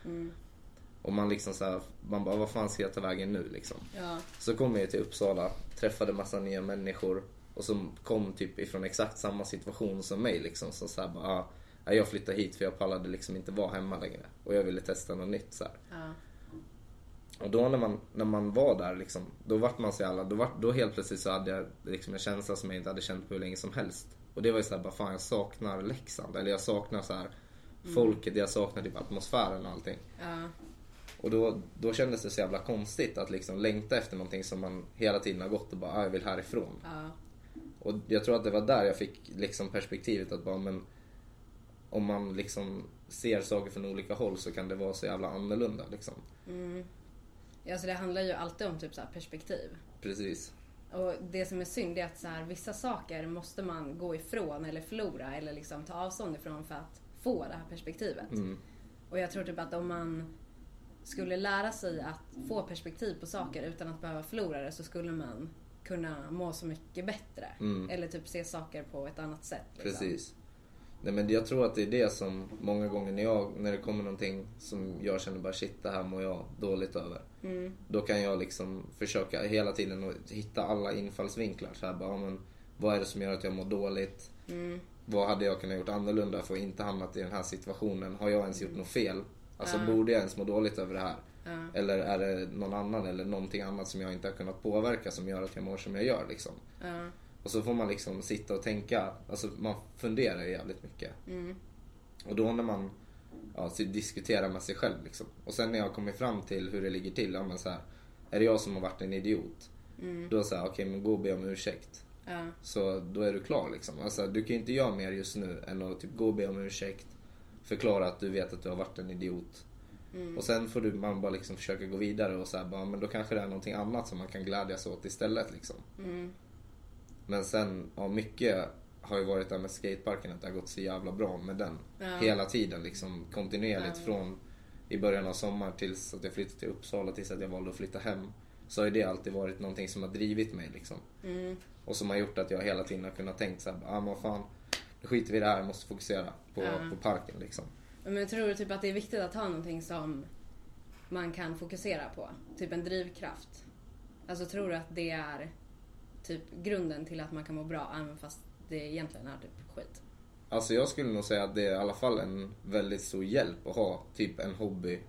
Speaker 7: Och man liksom så här, man bara vad fan ska jag ta vägen nu liksom?
Speaker 1: Ja.
Speaker 7: Så kom jag till Uppsala, träffade massa nya människor och som kom typ ifrån exakt samma situation som mig liksom. Så så här bara, ah, nej, jag flyttade hit för jag pallade liksom inte vara hemma längre och jag ville testa något nytt så här.
Speaker 1: Ja.
Speaker 7: Och då när man, när man var där liksom, då vart man så jävla, då, vart, då helt plötsligt så hade jag liksom en känsla som jag inte hade känt på hur länge som helst. Och det var ju såhär, bara fan jag saknar Leksand. Eller jag saknar så här folket, jag saknar typ atmosfären och allting.
Speaker 1: Ja.
Speaker 7: Och då, då kändes det så jävla konstigt att liksom längta efter någonting som man hela tiden har gått och bara, ah, jag vill härifrån.
Speaker 1: Ja.
Speaker 7: Och jag tror att det var där jag fick liksom perspektivet att bara, men om man liksom ser saker från olika håll så kan det vara så jävla annorlunda liksom.
Speaker 1: Ja, så det handlar ju alltid om typ så här perspektiv.
Speaker 7: Precis.
Speaker 1: Och det som är synd är att så här, vissa saker måste man gå ifrån eller förlora eller liksom ta avstånd ifrån för att få det här perspektivet. Och jag tror typ att om man skulle lära sig att få perspektiv på saker utan att behöva förlora det så skulle man kunna må så mycket bättre. Eller typ se saker på ett annat sätt. liksom.
Speaker 7: Precis. Nej, men jag tror att det är det som många gånger när, jag, när det kommer någonting som jag känner bara shit det här mår jag dåligt över. Då kan jag liksom försöka hela tiden att hitta alla infallsvinklar. Så här, bara, ja, men, vad är det som gör att jag mår dåligt? Vad hade jag kunnat gjort annorlunda för att inte hamnat i den här situationen? Har jag ens gjort något fel? Alltså borde jag ens må dåligt över det här? Eller är det någon annan eller någonting annat som jag inte har kunnat påverka som gör att jag mår som jag gör liksom? Och så får man liksom sitta och tänka, alltså man funderar jävligt mycket. Och då när man ja, så diskuterar med sig själv liksom. Och sen när jag kommer fram till hur det ligger till, ja men så här, är det jag som har varit en idiot? Då säger jag, okej men gå och be om ursäkt.
Speaker 1: Ja.
Speaker 7: Så då är du klar liksom. Alltså, du kan ju inte göra mer just nu än att typ gå och be om ursäkt. Förklara att du vet att du har varit en idiot. Och sen får du, man bara liksom försöka gå vidare och så här, bara, men då kanske det är någonting annat som man kan glädjas åt istället liksom. Men sen, ja mycket har ju varit där med skateparken att det har gått så jävla bra med den. Hela tiden liksom kontinuerligt från i början av sommaren tills att jag flyttade till Uppsala tills att jag valde att flytta hem. Så har ju det alltid varit någonting som har drivit mig liksom. Och som har gjort att jag hela tiden har kunnat tänkt så här, ah, men fan, nu skiter vi i det här, jag måste fokusera på, på parken liksom.
Speaker 1: Men jag tror typ att det är viktigt att ha någonting som man kan fokusera på. Typ en drivkraft. Alltså tror du att det är typ grunden till att man kan må bra även fast det egentligen är typ skit?
Speaker 7: Alltså jag skulle nog säga att det är i alla fall en väldigt stor hjälp att ha typ en hobby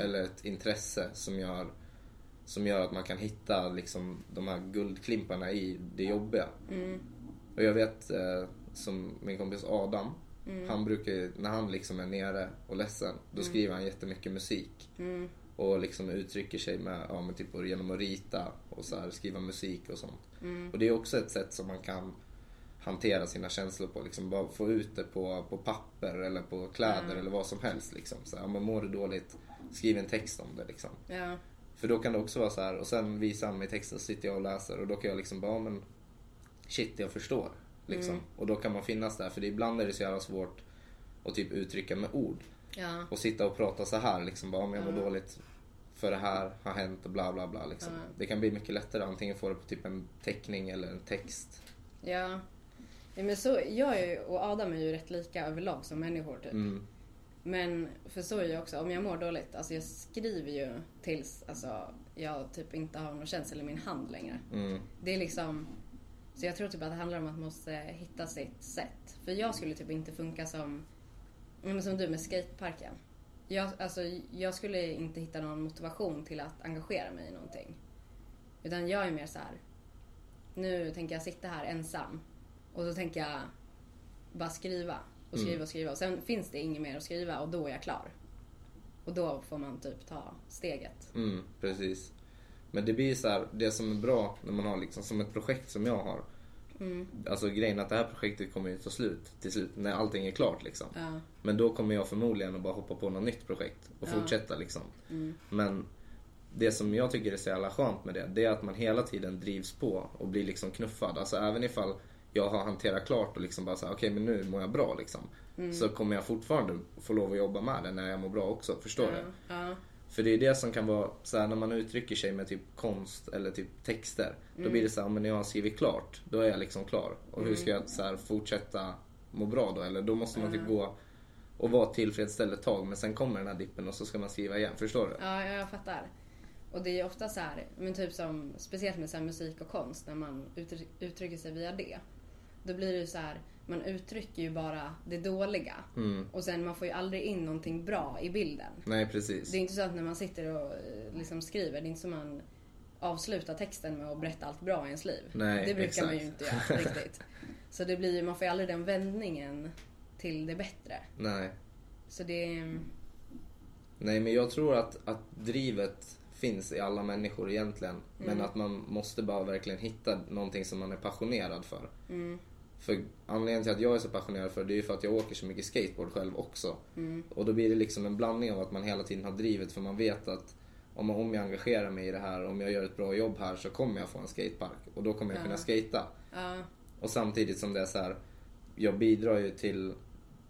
Speaker 7: eller ett intresse som gör, som gör att man kan hitta liksom de här guldklimparna i det jobbiga. Och jag vet eh, som min kompis Adam, han brukar ju- när han liksom är nere och ledsen då skriver han jättemycket musik. Och liksom uttrycker sig med, ja, men typ genom att rita och så här, skriva musik och sånt. Och det är också ett sätt som man kan hantera sina känslor på. Liksom bara få ut det på, på papper eller på kläder eller vad som helst. Liksom. Så här, om man mår du dåligt, skriv en text om det. Liksom.
Speaker 1: Ja.
Speaker 7: För då kan det också vara så här och sen visar han mig texten så sitter jag och läser och då kan jag liksom bara, "Ja, men shit jag förstår. Liksom. Och då kan man finnas där för det, ibland är det så jävla svårt att typ uttrycka med ord.
Speaker 1: Ja.
Speaker 7: Och sitta och prata så här liksom, bara om jag mår dåligt för det här har hänt och bla bla bla. Liksom. Det kan bli mycket lättare antingen få det på typ en teckning eller en text.
Speaker 1: Ja. ja men så, jag är ju, och Adam är ju rätt lika överlag som människor typ. Men för så är jag också, om jag mår dåligt, alltså jag skriver ju tills alltså, jag typ inte har någon känsla i min hand längre. Det är liksom, så jag tror typ att det handlar om att man måste hitta sitt sätt. För jag skulle typ inte funka som, ja, men som du med skateparken. Jag, alltså, jag skulle inte hitta någon motivation till att engagera mig i någonting. Utan jag är mer så här, nu tänker jag sitta här ensam och så tänker jag bara skriva och skriva och skriva och sen finns det inget mer att skriva och då är jag klar. Och då får man typ ta steget.
Speaker 7: Mm, precis. Men det blir så här, det som är bra när man har liksom, som ett projekt som jag har.
Speaker 1: Mm.
Speaker 7: Alltså grejen är att det här projektet kommer ju ta slut till slut när allting är klart liksom.
Speaker 1: Ja.
Speaker 7: Men då kommer jag förmodligen att bara hoppa på något nytt projekt och fortsätta liksom.
Speaker 1: Mm.
Speaker 7: Men det som jag tycker är så jävla skönt med det, det är att man hela tiden drivs på och blir liksom knuffad. Alltså även ifall jag har hanterat klart och liksom bara såhär, okej men nu mår jag bra liksom.
Speaker 1: Mm.
Speaker 7: Så kommer jag fortfarande få lov att jobba med det när jag mår bra också, förstår du?
Speaker 1: Ja.
Speaker 7: För det är det som kan vara så här när man uttrycker sig med typ konst eller typ texter. Då
Speaker 1: Mm.
Speaker 7: blir det så här, men när jag har skrivit klart, då är
Speaker 1: Mm.
Speaker 7: jag liksom klar. Och hur ska jag så här, fortsätta må bra då? Eller då måste man typ gå och vara tillfredsställd ett tag men sen kommer den här dippen och så ska man skriva igen. Förstår du?
Speaker 1: Ja, jag fattar. Och det är ju ofta så här, men typ som, speciellt med så här musik och konst, när man uttry- uttrycker sig via det. Då blir det ju så här, man uttrycker ju bara det dåliga. Och sen man får ju aldrig in någonting bra i bilden.
Speaker 7: Nej precis.
Speaker 1: Det är inte så att när man sitter och eh, liksom skriver, det är inte som man avslutar texten med att berätta allt bra i ens liv.
Speaker 7: Nej,
Speaker 1: det brukar man ju inte
Speaker 7: exakt.
Speaker 1: göra riktigt. Så det blir, man får ju aldrig den vändningen till det bättre.
Speaker 7: Nej.
Speaker 1: Så det är... mm,
Speaker 7: Nej men jag tror att, att drivet finns i alla människor egentligen. Men att man måste bara verkligen hitta någonting som man är passionerad för. För anledningen till att jag är så passionerad för det är ju för att jag åker så mycket skateboard själv också. Och då blir det liksom en blandning av att man hela tiden har drivet för man vet att om, om jag engagerar mig i det här, om jag gör ett bra jobb här så kommer jag få en skatepark. Och då kommer jag kunna skata. Och samtidigt som det är så här, jag bidrar ju till,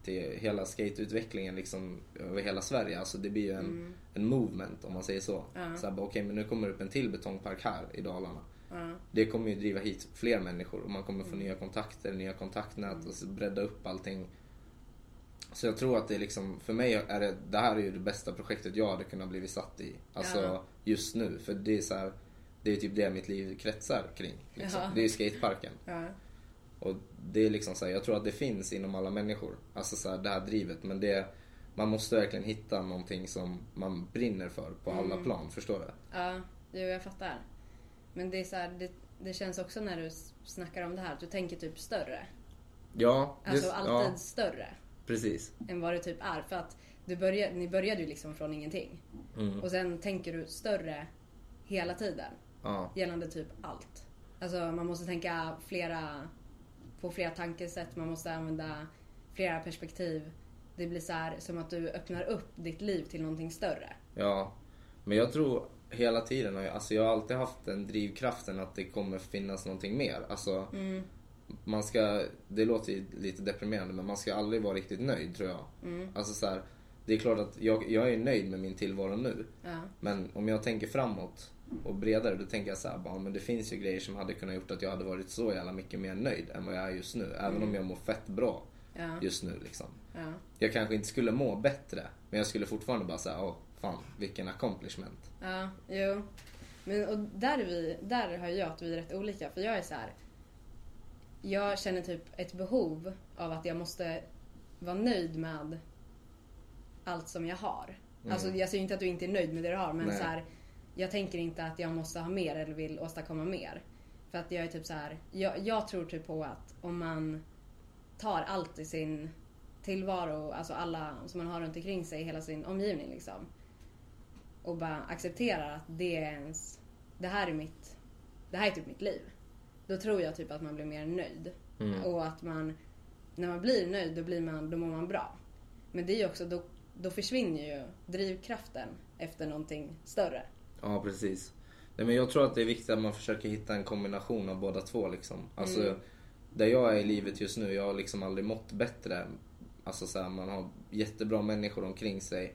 Speaker 7: till hela skateutvecklingen liksom över hela Sverige. Alltså det blir ju en, en movement om man säger så. så här, bara, Okej men nu kommer det upp en till betongpark här i Dalarna. Det kommer ju driva hit fler människor och man kommer få nya kontakter, nya kontaktnät och så bredda upp allting. Så jag tror att det är liksom, för mig är det, det här är ju det bästa projektet jag hade kunnat blivit satt i. Alltså just nu. För det är så här, det är typ det mitt liv kretsar kring. Liksom. Det är ju skateparken. Och det är liksom så här, jag tror att det finns inom alla människor. Alltså så här, det här drivet. Men det, man måste verkligen hitta någonting som man brinner för på alla
Speaker 1: Mm.
Speaker 7: plan. Förstår du?
Speaker 1: Ja, jo, jag fattar. Men det, är så här, det, det känns också när du s- snackar om det här att du tänker typ större.
Speaker 7: Ja,
Speaker 1: Alltså
Speaker 7: just-
Speaker 1: alltid
Speaker 7: ja
Speaker 1: större
Speaker 7: precis.
Speaker 1: än vad det typ är. För att du börjar, ni började ju liksom från ingenting.
Speaker 7: Mm.
Speaker 1: Och sen tänker du större hela tiden
Speaker 7: Ja,
Speaker 1: gällande typ allt. Alltså man måste tänka flera, på flera tankesätt, man måste använda flera perspektiv. Det blir så här, som att du öppnar upp ditt liv till någonting större.
Speaker 7: ja. Men jag tror hela tiden, har jag- alltså jag har alltid haft den drivkraften att det kommer finnas någonting mer. Alltså, man ska, det låter ju lite deprimerande men man ska aldrig vara riktigt nöjd tror jag. Alltså så här, det är klart att jag, jag är nöjd med min tillvaro nu. Men om jag tänker framåt och bredare då tänker jag så här, bara, men det finns ju grejer som hade kunnat gjort att jag hade varit så jävla mycket mer nöjd än vad jag är just nu. Även om jag mår fett bra just nu liksom. Jag kanske inte skulle må bättre men jag skulle fortfarande bara säga, åh fan vilken accomplishment.
Speaker 1: Ja, jo. Men och där, är vi, där har jag att vi är rätt olika. För jag är så här. Jag känner typ ett behov av att jag måste vara nöjd med allt som jag har. Alltså jag säger inte att du inte är nöjd med det du har men
Speaker 7: Nej.
Speaker 1: så här. Jag tänker inte att jag måste ha mer eller vill åstadkomma mer. För att jag är typ så här. Jag, jag tror typ på att om man tar allt i sin tillvaro, alltså alla som man har runt omkring sig, hela sin omgivning liksom och bara accepterar att det är ens, det här är mitt, det här är typ mitt liv. Då tror jag typ att man blir mer nöjd. Och att man, när man blir nöjd då, blir man, då mår man bra. Men det är ju också, då, då försvinner ju drivkraften efter någonting större.
Speaker 7: Ja, precis. Nej, men jag tror att det är viktigt att man försöker hitta en kombination av båda två. Liksom. Alltså, Där jag är i livet just nu, jag har liksom aldrig mått bättre. Alltså, så här, man har jättebra människor omkring sig.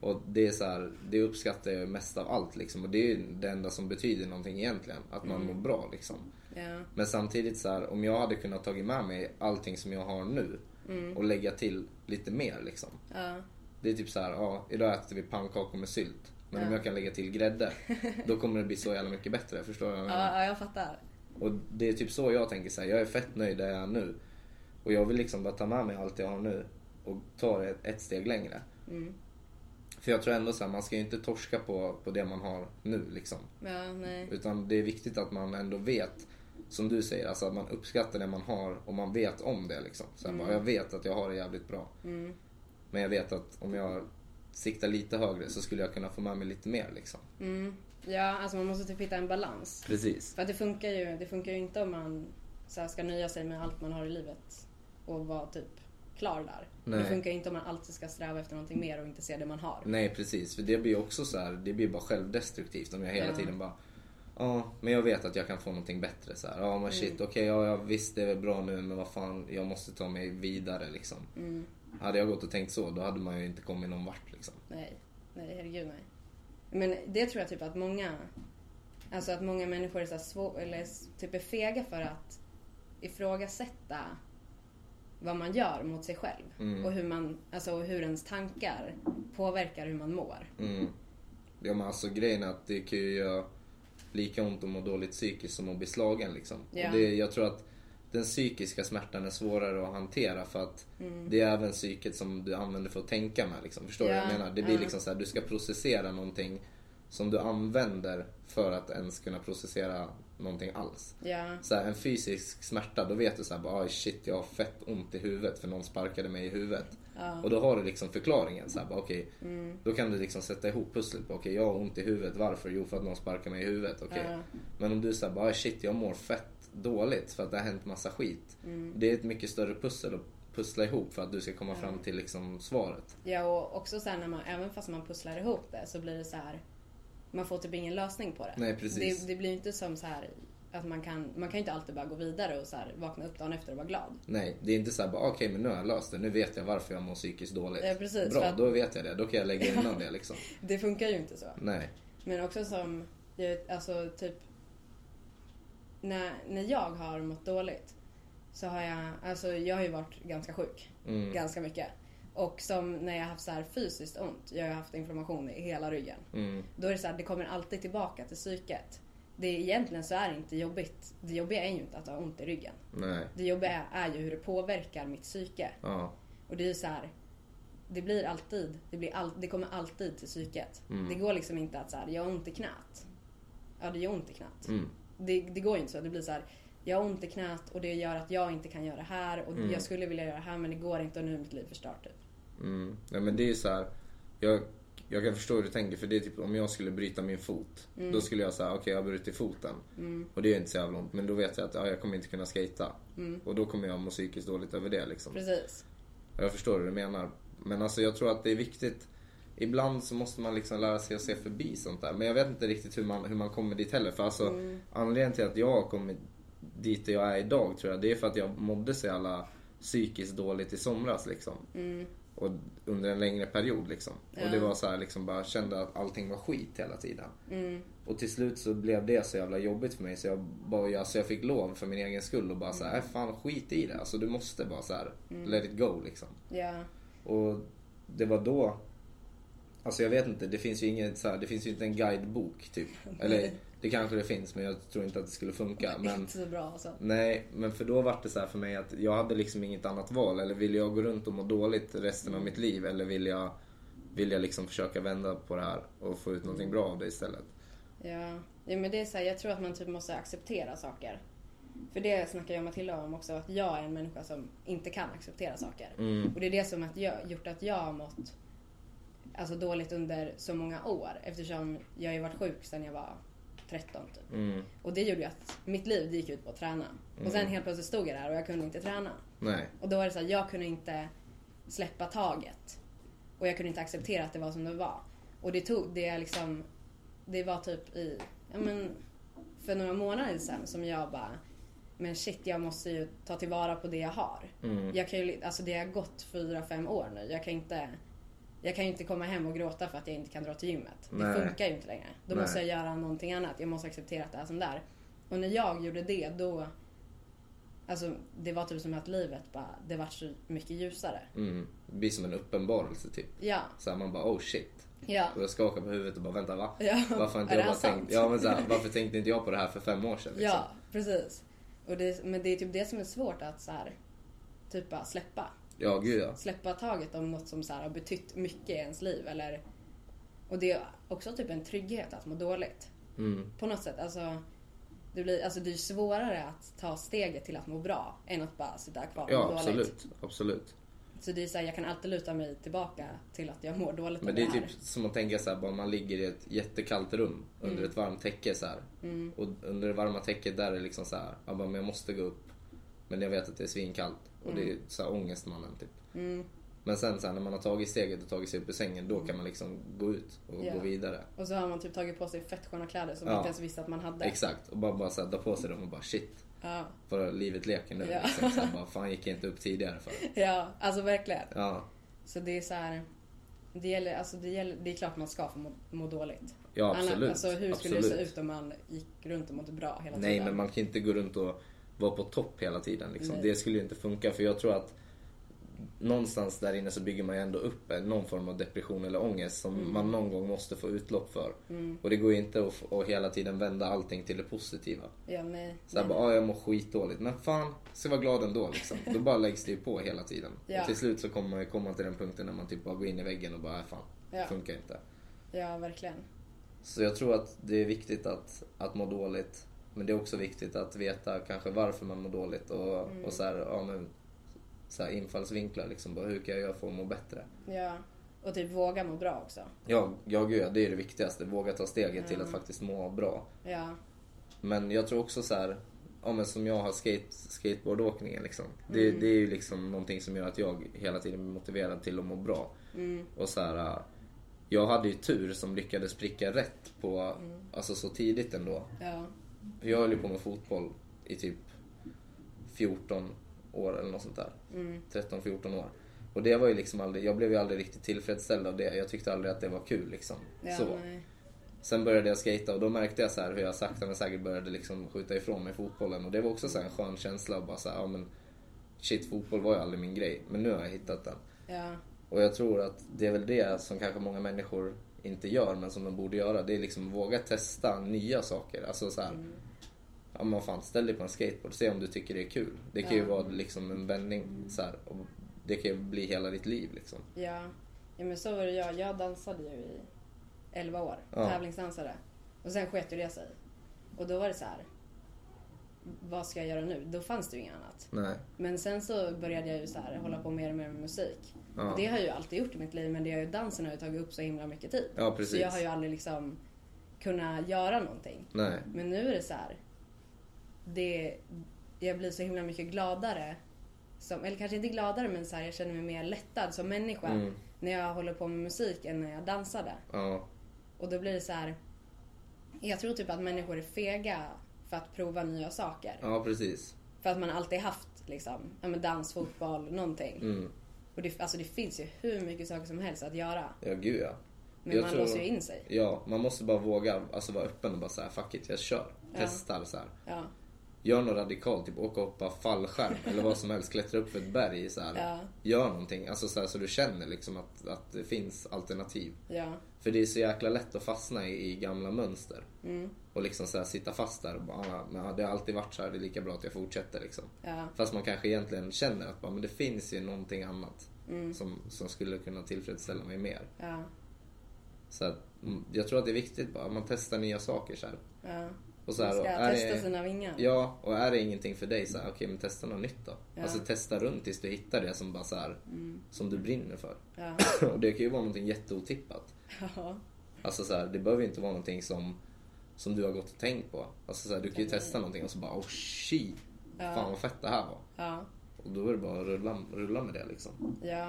Speaker 7: Och det, är så här, det uppskattar jag mest av allt. Liksom. Och det är ju det enda som betyder någonting egentligen. Att man mår bra. Liksom.
Speaker 1: Ja,
Speaker 7: Men samtidigt så här, om jag hade kunnat tagit med mig allting som jag har nu och lägga till lite mer liksom. Det är typ så här, ja, idag äter vi pannkakor med sylt. Men om jag kan lägga till grädde, då kommer det bli så jävla mycket bättre. Förstår du vad jag menar?
Speaker 1: ja, ja jag fattar.
Speaker 7: Och det är typ så jag tänker så här, jag är fett nöjd där jag är nu. Och jag vill liksom bara ta med mig allt jag har nu och ta det ett steg längre. För jag tror ändå så här, man ska ju inte torska på, på det man har nu liksom.
Speaker 1: Ja, nej.
Speaker 7: Utan det är viktigt att man ändå vet, som du säger, alltså att man uppskattar det man har och man vet om det. Liksom. Så här, bara, jag vet att jag har det jävligt bra. Men jag vet att om jag siktar lite högre så skulle jag kunna få med mig lite mer. Liksom.
Speaker 1: Ja, alltså man måste typ hitta en balans.
Speaker 7: Precis.
Speaker 1: För att det funkar ju, det funkar ju inte om man så här, ska nöja sig med allt man har i livet och vara typ klar där. Det
Speaker 7: Nej.
Speaker 1: funkar ju inte om man alltid ska sträva efter någonting mer och inte se det man har.
Speaker 7: Nej precis, för det blir också så här, det blir bara självdestruktivt om jag hela
Speaker 1: Ja.
Speaker 7: tiden bara Ja, men jag vet att jag kan få någonting bättre så här. Ja, men shit, okej, ja, ja, visst det är väl bra nu men vad fan, jag måste ta mig vidare liksom. Hade jag gått och tänkt så, då hade man ju inte kommit någon vart liksom.
Speaker 1: Nej, nej herregud nej. Men det tror jag typ att många, alltså att många människor är så här svå, eller s- typ är fega för att ifrågasätta vad man gör mot sig själv. Och hur, man, alltså, hur ens tankar påverkar hur man mår.
Speaker 7: Mm. Ja men alltså grejen är att det kan ju göra lika ont att må dåligt psykiskt som att bli slagen liksom.
Speaker 1: Ja.
Speaker 7: Och det, jag tror att den psykiska smärtan är svårare att hantera för att
Speaker 1: Mm.
Speaker 7: det är även psyket som du använder för att tänka med liksom. Förstår du
Speaker 1: Ja.
Speaker 7: vad jag menar? Det blir
Speaker 1: Ja.
Speaker 7: liksom så här, du ska processera någonting som du använder för att ens kunna processera någonting alls.
Speaker 1: Ja.
Speaker 7: Så här, en fysisk smärta, då vet du så här, bara, "Aj, shit jag har fett ont i huvudet för någon sparkade mig i huvudet. Och då har du liksom förklaringen. Så här, bara, okej,
Speaker 1: Mm.
Speaker 7: Då kan du liksom sätta ihop pusslet. Bara, Okej, jag har ont i huvudet, varför? Jo, för att någon sparkade mig i huvudet. Okej. Men om du säger bara "Aj, shit jag mår fett dåligt för att det har hänt massa skit.
Speaker 1: Mm.
Speaker 7: Det är ett mycket större pussel att pussla ihop för att du ska komma fram till liksom svaret.
Speaker 1: Ja och också så här när man, även fast man pusslar ihop det så blir det så här man får typ ingen lösning på det.
Speaker 7: Nej, precis.
Speaker 1: Det, det blir ju inte som så här att man kan, man kan ju inte alltid bara gå vidare och så här vakna upp dagen efter och vara glad.
Speaker 7: Nej, det är inte så här bara okej men nu har jag löst det. Nu vet jag varför jag mår psykiskt dåligt.
Speaker 1: Ja, precis,
Speaker 7: Bra,
Speaker 1: för att-
Speaker 7: då vet jag det. Då kan jag lägga undan det liksom.
Speaker 1: Det funkar ju inte så.
Speaker 7: Nej.
Speaker 1: Men också som, jag vet, alltså typ när, när jag har mått dåligt så har jag, alltså jag har ju varit ganska sjuk. Ganska mycket. Och som när jag har haft så här fysiskt ont, jag har haft inflammation i hela ryggen. Då är det så här, det kommer alltid tillbaka till psyket. Det är, egentligen så är det inte jobbigt. Det jobbiga är ju inte att ha ont i ryggen.
Speaker 7: Nej.
Speaker 1: Det jobbiga är ju hur det påverkar mitt psyke.
Speaker 7: Ja.
Speaker 1: Och det är ju så här. Det blir alltid, det, blir all, det kommer alltid till psyket. Det går liksom inte att så här, jag har ont i knät. Ja, det gör ont i knät. Det, det går ju inte så. Det blir så här, jag har ont i knät och det gör att jag inte kan göra det här och jag skulle vilja göra det här men det går inte och nu är mitt liv förstört typ.
Speaker 7: Mm. Nej, men det är ju så här, jag, jag kan förstå hur du tänker för det är typ om jag skulle bryta min fot. Då skulle jag säga okej jag har brutit foten. Och det är inte så jävla ont men då vet jag att ja, jag kommer inte kunna skata. Och då kommer jag må psykiskt dåligt över det liksom.
Speaker 1: Precis.
Speaker 7: Jag förstår hur du menar. Men alltså jag tror att det är viktigt. Ibland så måste man liksom lära sig att se förbi sånt där. Men jag vet inte riktigt hur man, hur man kommer dit heller. För alltså anledningen till att jag har kommit dit jag är idag tror jag. Det är för att jag mådde så jävla psykiskt dåligt i somras liksom. Och under en längre period liksom. Och det var så här liksom bara kände att allting var skit hela tiden. Och till slut så blev det så jävla jobbigt för mig så jag, bara, jag, så jag fick lov för min egen skull och bara så här, "Äh, fan skit i det. Alltså du måste bara så här, let it go liksom.
Speaker 1: Ja.
Speaker 7: Och det var då Alltså jag vet inte, det finns ju inget så här, det finns ju inte en guidebok typ. Eller det kanske det finns men jag tror inte att det skulle funka. Men,
Speaker 1: Inte så bra alltså.
Speaker 7: nej, men för då var det så här för mig att jag hade liksom inget annat val. Eller vill jag gå runt och må dåligt resten
Speaker 1: Mm.
Speaker 7: av mitt liv eller vill jag, vill jag liksom försöka vända på det här och få
Speaker 1: Mm.
Speaker 7: ut någonting bra av det istället?
Speaker 1: Ja. ja men det är så här, jag tror att man typ måste acceptera saker. För det snackar jag och Matilda om också, att jag är en människa som inte kan acceptera saker. Och det är det som att jag, gjort att jag har mått alltså, dåligt under så många år. Eftersom jag har ju varit sjuk sedan jag var 13 typ. Och det gjorde ju att mitt liv det gick ut på att träna. Och sen helt plötsligt stod jag där och jag kunde inte träna.
Speaker 7: Nej.
Speaker 1: Och då var det så här, jag kunde inte släppa taget. Och jag kunde inte acceptera att det var som det var. Och det tog, det är liksom, det var typ i, ja men, för några månader sedan som jag bara, men shit jag måste ju ta tillvara på det jag har. Jag kan ju, alltså det har gått fyra, fem år nu. Jag kan inte, jag kan ju inte komma hem och gråta för att jag inte kan dra till gymmet.
Speaker 7: Nej.
Speaker 1: Det funkar ju inte längre. Då
Speaker 7: Nej.
Speaker 1: måste jag göra någonting annat. Jag måste acceptera att det är som det är. Och när jag gjorde det då Alltså det var typ som att livet bara, det vart så mycket ljusare.
Speaker 7: Mm. Det blir som en uppenbarelse typ.
Speaker 1: Ja,
Speaker 7: Så här, man bara oh shit.
Speaker 1: ja,
Speaker 7: Och jag skakar på huvudet och bara vänta va?
Speaker 1: Ja,
Speaker 7: Varför, har inte
Speaker 1: är
Speaker 7: jag
Speaker 1: det
Speaker 7: bara
Speaker 1: här sant?
Speaker 7: tänkt, ja, men så här, varför tänkte inte jag på det här för fem år sedan? Liksom?
Speaker 1: ja, precis. Och det, men det är typ det som är svårt att så här, typ bara släppa.
Speaker 7: Ja, gud ja.
Speaker 1: Släppa taget om något som så här, har betytt mycket i ens liv eller Och det är också typ en trygghet att må dåligt.
Speaker 7: Mm.
Speaker 1: På något sätt, alltså det, blir, alltså det är svårare att ta steget till att må bra än att bara sitta kvar och må
Speaker 7: Ja,
Speaker 1: dåligt.
Speaker 7: absolut. absolut.
Speaker 1: Så det är så här, jag kan alltid luta mig tillbaka till att jag mår dåligt
Speaker 7: Men
Speaker 1: av
Speaker 7: det är
Speaker 1: här.
Speaker 7: typ som att tänka så här, bara man ligger i ett jättekallt rum under
Speaker 1: Mm.
Speaker 7: ett varmt täcke så här. Och under det varma täcket där är det liksom så här, jag, bara, men jag måste gå upp. Men jag vet att det är svinkallt. Och det
Speaker 1: Mm.
Speaker 7: är så här ångestmannen typ. Men sen så här, när man har tagit steget och tagit sig upp ur sängen, då kan man liksom gå ut och
Speaker 1: Mm. Ja.
Speaker 7: gå vidare.
Speaker 1: Och så har man typ tagit på sig fett sköna kläder som
Speaker 7: Ja.
Speaker 1: man inte ens visste att man hade.
Speaker 7: Exakt. Och bara, bara så här, ta på sig dem och bara shit.
Speaker 1: Ja.
Speaker 7: Bara livet leker nu.
Speaker 1: Ja.
Speaker 7: Liksom. Så här, bara, fan gick jag inte upp tidigare för?
Speaker 1: ja, alltså verkligen.
Speaker 7: Ja.
Speaker 1: Så det är så här. Det, gäller, alltså det, gäller, det är klart man ska få må, må dåligt.
Speaker 7: Ja,
Speaker 1: Annars-
Speaker 7: absolut.
Speaker 1: Alltså, hur skulle det
Speaker 7: absolut.
Speaker 1: se ut om man gick runt och mådde bra hela
Speaker 7: Nej,
Speaker 1: tiden?
Speaker 7: men man kan inte gå runt och vara på topp hela tiden. Liksom.
Speaker 1: Nej.
Speaker 7: Det skulle ju inte funka. För jag tror att någonstans där inne så bygger man ju ändå upp en- någon form av depression eller ångest som
Speaker 1: Mm.
Speaker 7: man någon gång måste få utlopp för. Och det går ju inte att, f- att hela tiden vända allting till det positiva.
Speaker 1: Ja, nej.
Speaker 7: Så här, bara, ah, jag mår skitdåligt. Men fan, ska vara glad ändå liksom. Då bara läggs det ju på hela tiden.
Speaker 1: Ja.
Speaker 7: Och till slut så kommer man ju komma till den punkten när man typ bara går in i väggen och bara, ah, fan,
Speaker 1: Ja.
Speaker 7: det funkar inte.
Speaker 1: Ja, verkligen.
Speaker 7: Så jag tror att det är viktigt att, att må dåligt. Men det är också viktigt att veta kanske varför man mår dåligt och, och så här, ja, men, så här infallsvinklar. Liksom, bara, hur kan jag göra för att må bättre?
Speaker 1: Ja. Och typ våga må bra också.
Speaker 7: Ja, ja, gud, ja, det är det viktigaste. Våga ta steget till att faktiskt må bra.
Speaker 1: Ja.
Speaker 7: Men jag tror också så här, ja, men som jag har skate, skateboardåkningen. Liksom. Det, det är ju liksom någonting som gör att jag hela tiden blir motiverad till att må bra. Och så här, äh, jag hade ju tur som lyckades pricka rätt på, alltså så tidigt ändå.
Speaker 1: Ja.
Speaker 7: För Jag höll ju på med fotboll i typ 14 år eller något sånt där.
Speaker 1: Mm.
Speaker 7: 13-14 år. Och det var ju liksom aldrig, jag blev ju aldrig riktigt tillfredsställd av det. Jag tyckte aldrig att det var kul liksom.
Speaker 1: Ja,
Speaker 7: så.
Speaker 1: nej.
Speaker 7: Sen började jag skata och då märkte jag så här hur jag sakta men säkert började liksom skjuta ifrån mig fotbollen. Och det var också så här en skön känsla att bara så här, ja men shit fotboll var ju aldrig min grej. Men nu har jag hittat den.
Speaker 1: Ja.
Speaker 7: Och jag tror att det är väl det som kanske många människor inte gör men som de borde göra. Det är liksom våga testa nya saker. Alltså så här,
Speaker 1: Mm.
Speaker 7: ja men vad fan ställ dig på en skateboard, se om du tycker det är kul. Det kan ju vara liksom en vändning så här, och Det kan ju bli hela ditt liv liksom.
Speaker 1: Ja. ja, men så var det jag. Jag dansade ju i 11 år.
Speaker 7: Ja.
Speaker 1: Tävlingsdansade. Och sen sket ju det sig. Och då var det så här. Vad ska jag göra nu? Då fanns det ju inget annat.
Speaker 7: Nej.
Speaker 1: Men sen så började jag ju så här hålla på mer och mer med musik.
Speaker 7: Ja.
Speaker 1: Och det har jag ju alltid gjort i mitt liv men det har ju dansen har ju tagit upp så himla mycket tid.
Speaker 7: Ja, precis.
Speaker 1: Så jag har ju aldrig liksom kunnat göra någonting.
Speaker 7: Nej.
Speaker 1: Men nu är det så här. Det, jag blir så himla mycket gladare. Som, eller kanske inte gladare men så här, jag känner mig mer lättad som människa
Speaker 7: Mm.
Speaker 1: när jag håller på med musik än när jag dansade.
Speaker 7: Ja.
Speaker 1: Och då blir det så här. Jag tror typ att människor är fega för att prova nya saker.
Speaker 7: Ja precis.
Speaker 1: För att man alltid haft liksom, ja, men dans, fotboll, någonting.
Speaker 7: Mm.
Speaker 1: Och det, alltså, det finns ju hur mycket saker som helst att göra.
Speaker 7: Ja gud ja.
Speaker 1: Men
Speaker 7: Jag
Speaker 1: man
Speaker 7: tror-
Speaker 1: låser ju in sig.
Speaker 7: Ja, man måste bara våga alltså vara öppen och bara säga fuck it, jag kör. Testar så här.
Speaker 1: Ja,
Speaker 7: Gör något radikalt, typ åka och hoppa fallskärm eller vad som helst. Klättra upp för ett berg. Så här.
Speaker 1: Ja.
Speaker 7: Gör någonting alltså, så, här, så du känner liksom att, att det finns alternativ.
Speaker 1: ja,
Speaker 7: För det är så jäkla lätt att fastna i, i gamla mönster.
Speaker 1: Mm.
Speaker 7: Och liksom så här, sitta fast där och bara, "Ah, men, ja, det har alltid varit så här, det är lika bra att jag fortsätter. Liksom.
Speaker 1: ja,
Speaker 7: Fast man kanske egentligen känner att bara, men det finns ju någonting annat
Speaker 1: Mm.
Speaker 7: som, som skulle kunna tillfredsställa mig mer.
Speaker 1: ja,
Speaker 7: Så att, mm, jag tror att det är viktigt bara, att man testar nya saker. Så här.
Speaker 1: ja.
Speaker 7: Och så
Speaker 1: Man
Speaker 7: här,
Speaker 1: ska
Speaker 7: och är
Speaker 1: testa
Speaker 7: det-
Speaker 1: sina vingar.
Speaker 7: Ja, och är det ingenting för dig så här, okej men testa något nytt då. Alltså testa runt tills du hittar det som bara så här, som du brinner för.
Speaker 1: Ja.
Speaker 7: och det kan ju vara någonting jätteotippat.
Speaker 1: Ja,
Speaker 7: Alltså så här, det behöver ju inte vara någonting som, som du har gått och tänkt på. Alltså så här, du kan ju testa någonting och så bara oh shit, fan vad fett det här var.
Speaker 1: ja,
Speaker 7: Och då är det bara att rulla, rulla med det liksom.
Speaker 1: ja.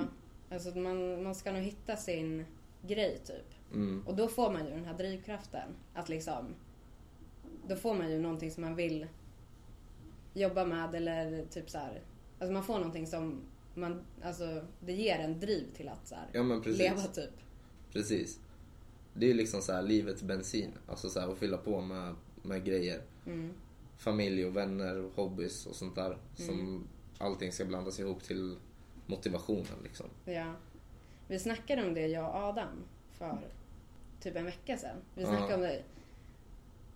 Speaker 1: Alltså att man, man ska nog hitta sin grej typ.
Speaker 7: Mm.
Speaker 1: Och då får man ju den här drivkraften. Att liksom, då får man ju någonting som man vill jobba med eller typ så här. Alltså man får någonting som man, alltså det ger en driv till att så här,
Speaker 7: Ja, men precis.
Speaker 1: leva typ.
Speaker 7: Precis. Det är ju liksom så här livets bensin. Alltså så här, att fylla på med, med grejer. Familj och vänner och hobbys och sånt där. Som allting ska blandas ihop till motivationen liksom.
Speaker 1: Ja. Vi snackade om det jag och Adam för typ en vecka sedan. Vi snackade
Speaker 7: Ja.
Speaker 1: om dig.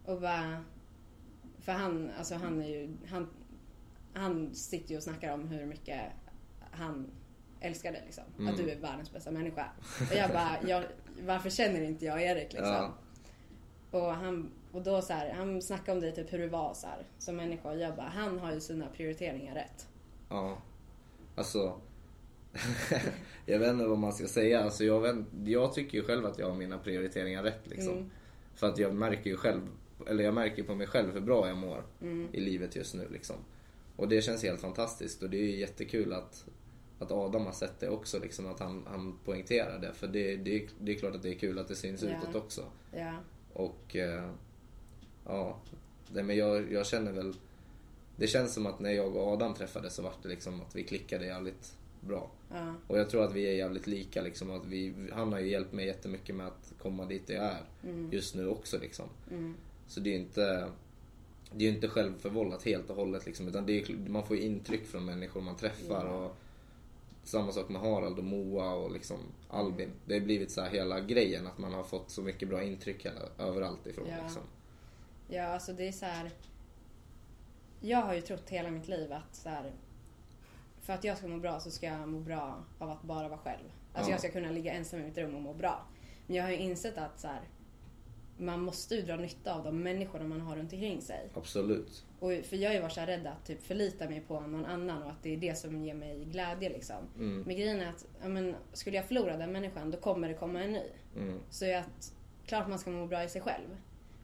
Speaker 1: Och bara... För han, alltså han är ju... Han, han sitter ju och snackar om hur mycket han älskar dig liksom.
Speaker 7: Mm.
Speaker 1: Att du är världens bästa människa. Och jag bara, jag, varför känner inte jag Erik liksom?
Speaker 7: Ja.
Speaker 1: Och, han, och då så här, han snackade om dig typ hur du var så här, som människa. Och jag bara, han har ju sina prioriteringar rätt.
Speaker 7: Ja. Alltså. jag vet inte vad man ska säga. Alltså jag, vet, jag tycker ju själv att jag har mina prioriteringar rätt liksom. För att jag märker ju själv, eller jag märker på mig själv hur bra jag mår i livet just nu liksom. Och det känns helt fantastiskt och det är ju jättekul att, att Adam har sett det också liksom. Att han, han poängterar det. För det, det, det är klart att det är kul att det syns
Speaker 1: Ja.
Speaker 7: utåt också.
Speaker 1: Ja,
Speaker 7: Och eh, ja, nej, men jag, jag känner väl... Det känns som att när jag och Adam träffades så var det liksom att vi klickade jävligt bra.
Speaker 1: ja,
Speaker 7: Och jag tror att vi är jävligt lika liksom. Att vi, han har ju hjälpt mig jättemycket med att komma dit jag är just nu också liksom. Så det är ju inte... Det är ju inte självförvållat helt och hållet liksom, utan det är, ju- man får ju intryck från människor man träffar och Samma sak med Harald och Moa och liksom Albin. Det har blivit så här hela grejen att man har fått så mycket bra intryck hela- överallt ifrån.
Speaker 1: Ja.
Speaker 7: Liksom.
Speaker 1: Ja, alltså det är så här. Jag har ju trott hela mitt liv att så här, för att jag ska må bra så ska jag må bra av att bara vara själv. Alltså
Speaker 7: Ja.
Speaker 1: jag ska kunna ligga ensam i mitt rum och må bra. Men jag har ju insett att så här, man måste ju dra nytta av de människorna man har runt omkring sig.
Speaker 7: Absolut.
Speaker 1: Och, för jag har ju varit så här rädd att typ förlita mig på någon annan och att det är det som ger mig glädje liksom.
Speaker 7: Mm.
Speaker 1: Men grejen är att ja, men, skulle jag förlora den människan då kommer det komma en ny.
Speaker 7: Mm.
Speaker 1: Så är att klart man ska må bra i sig själv.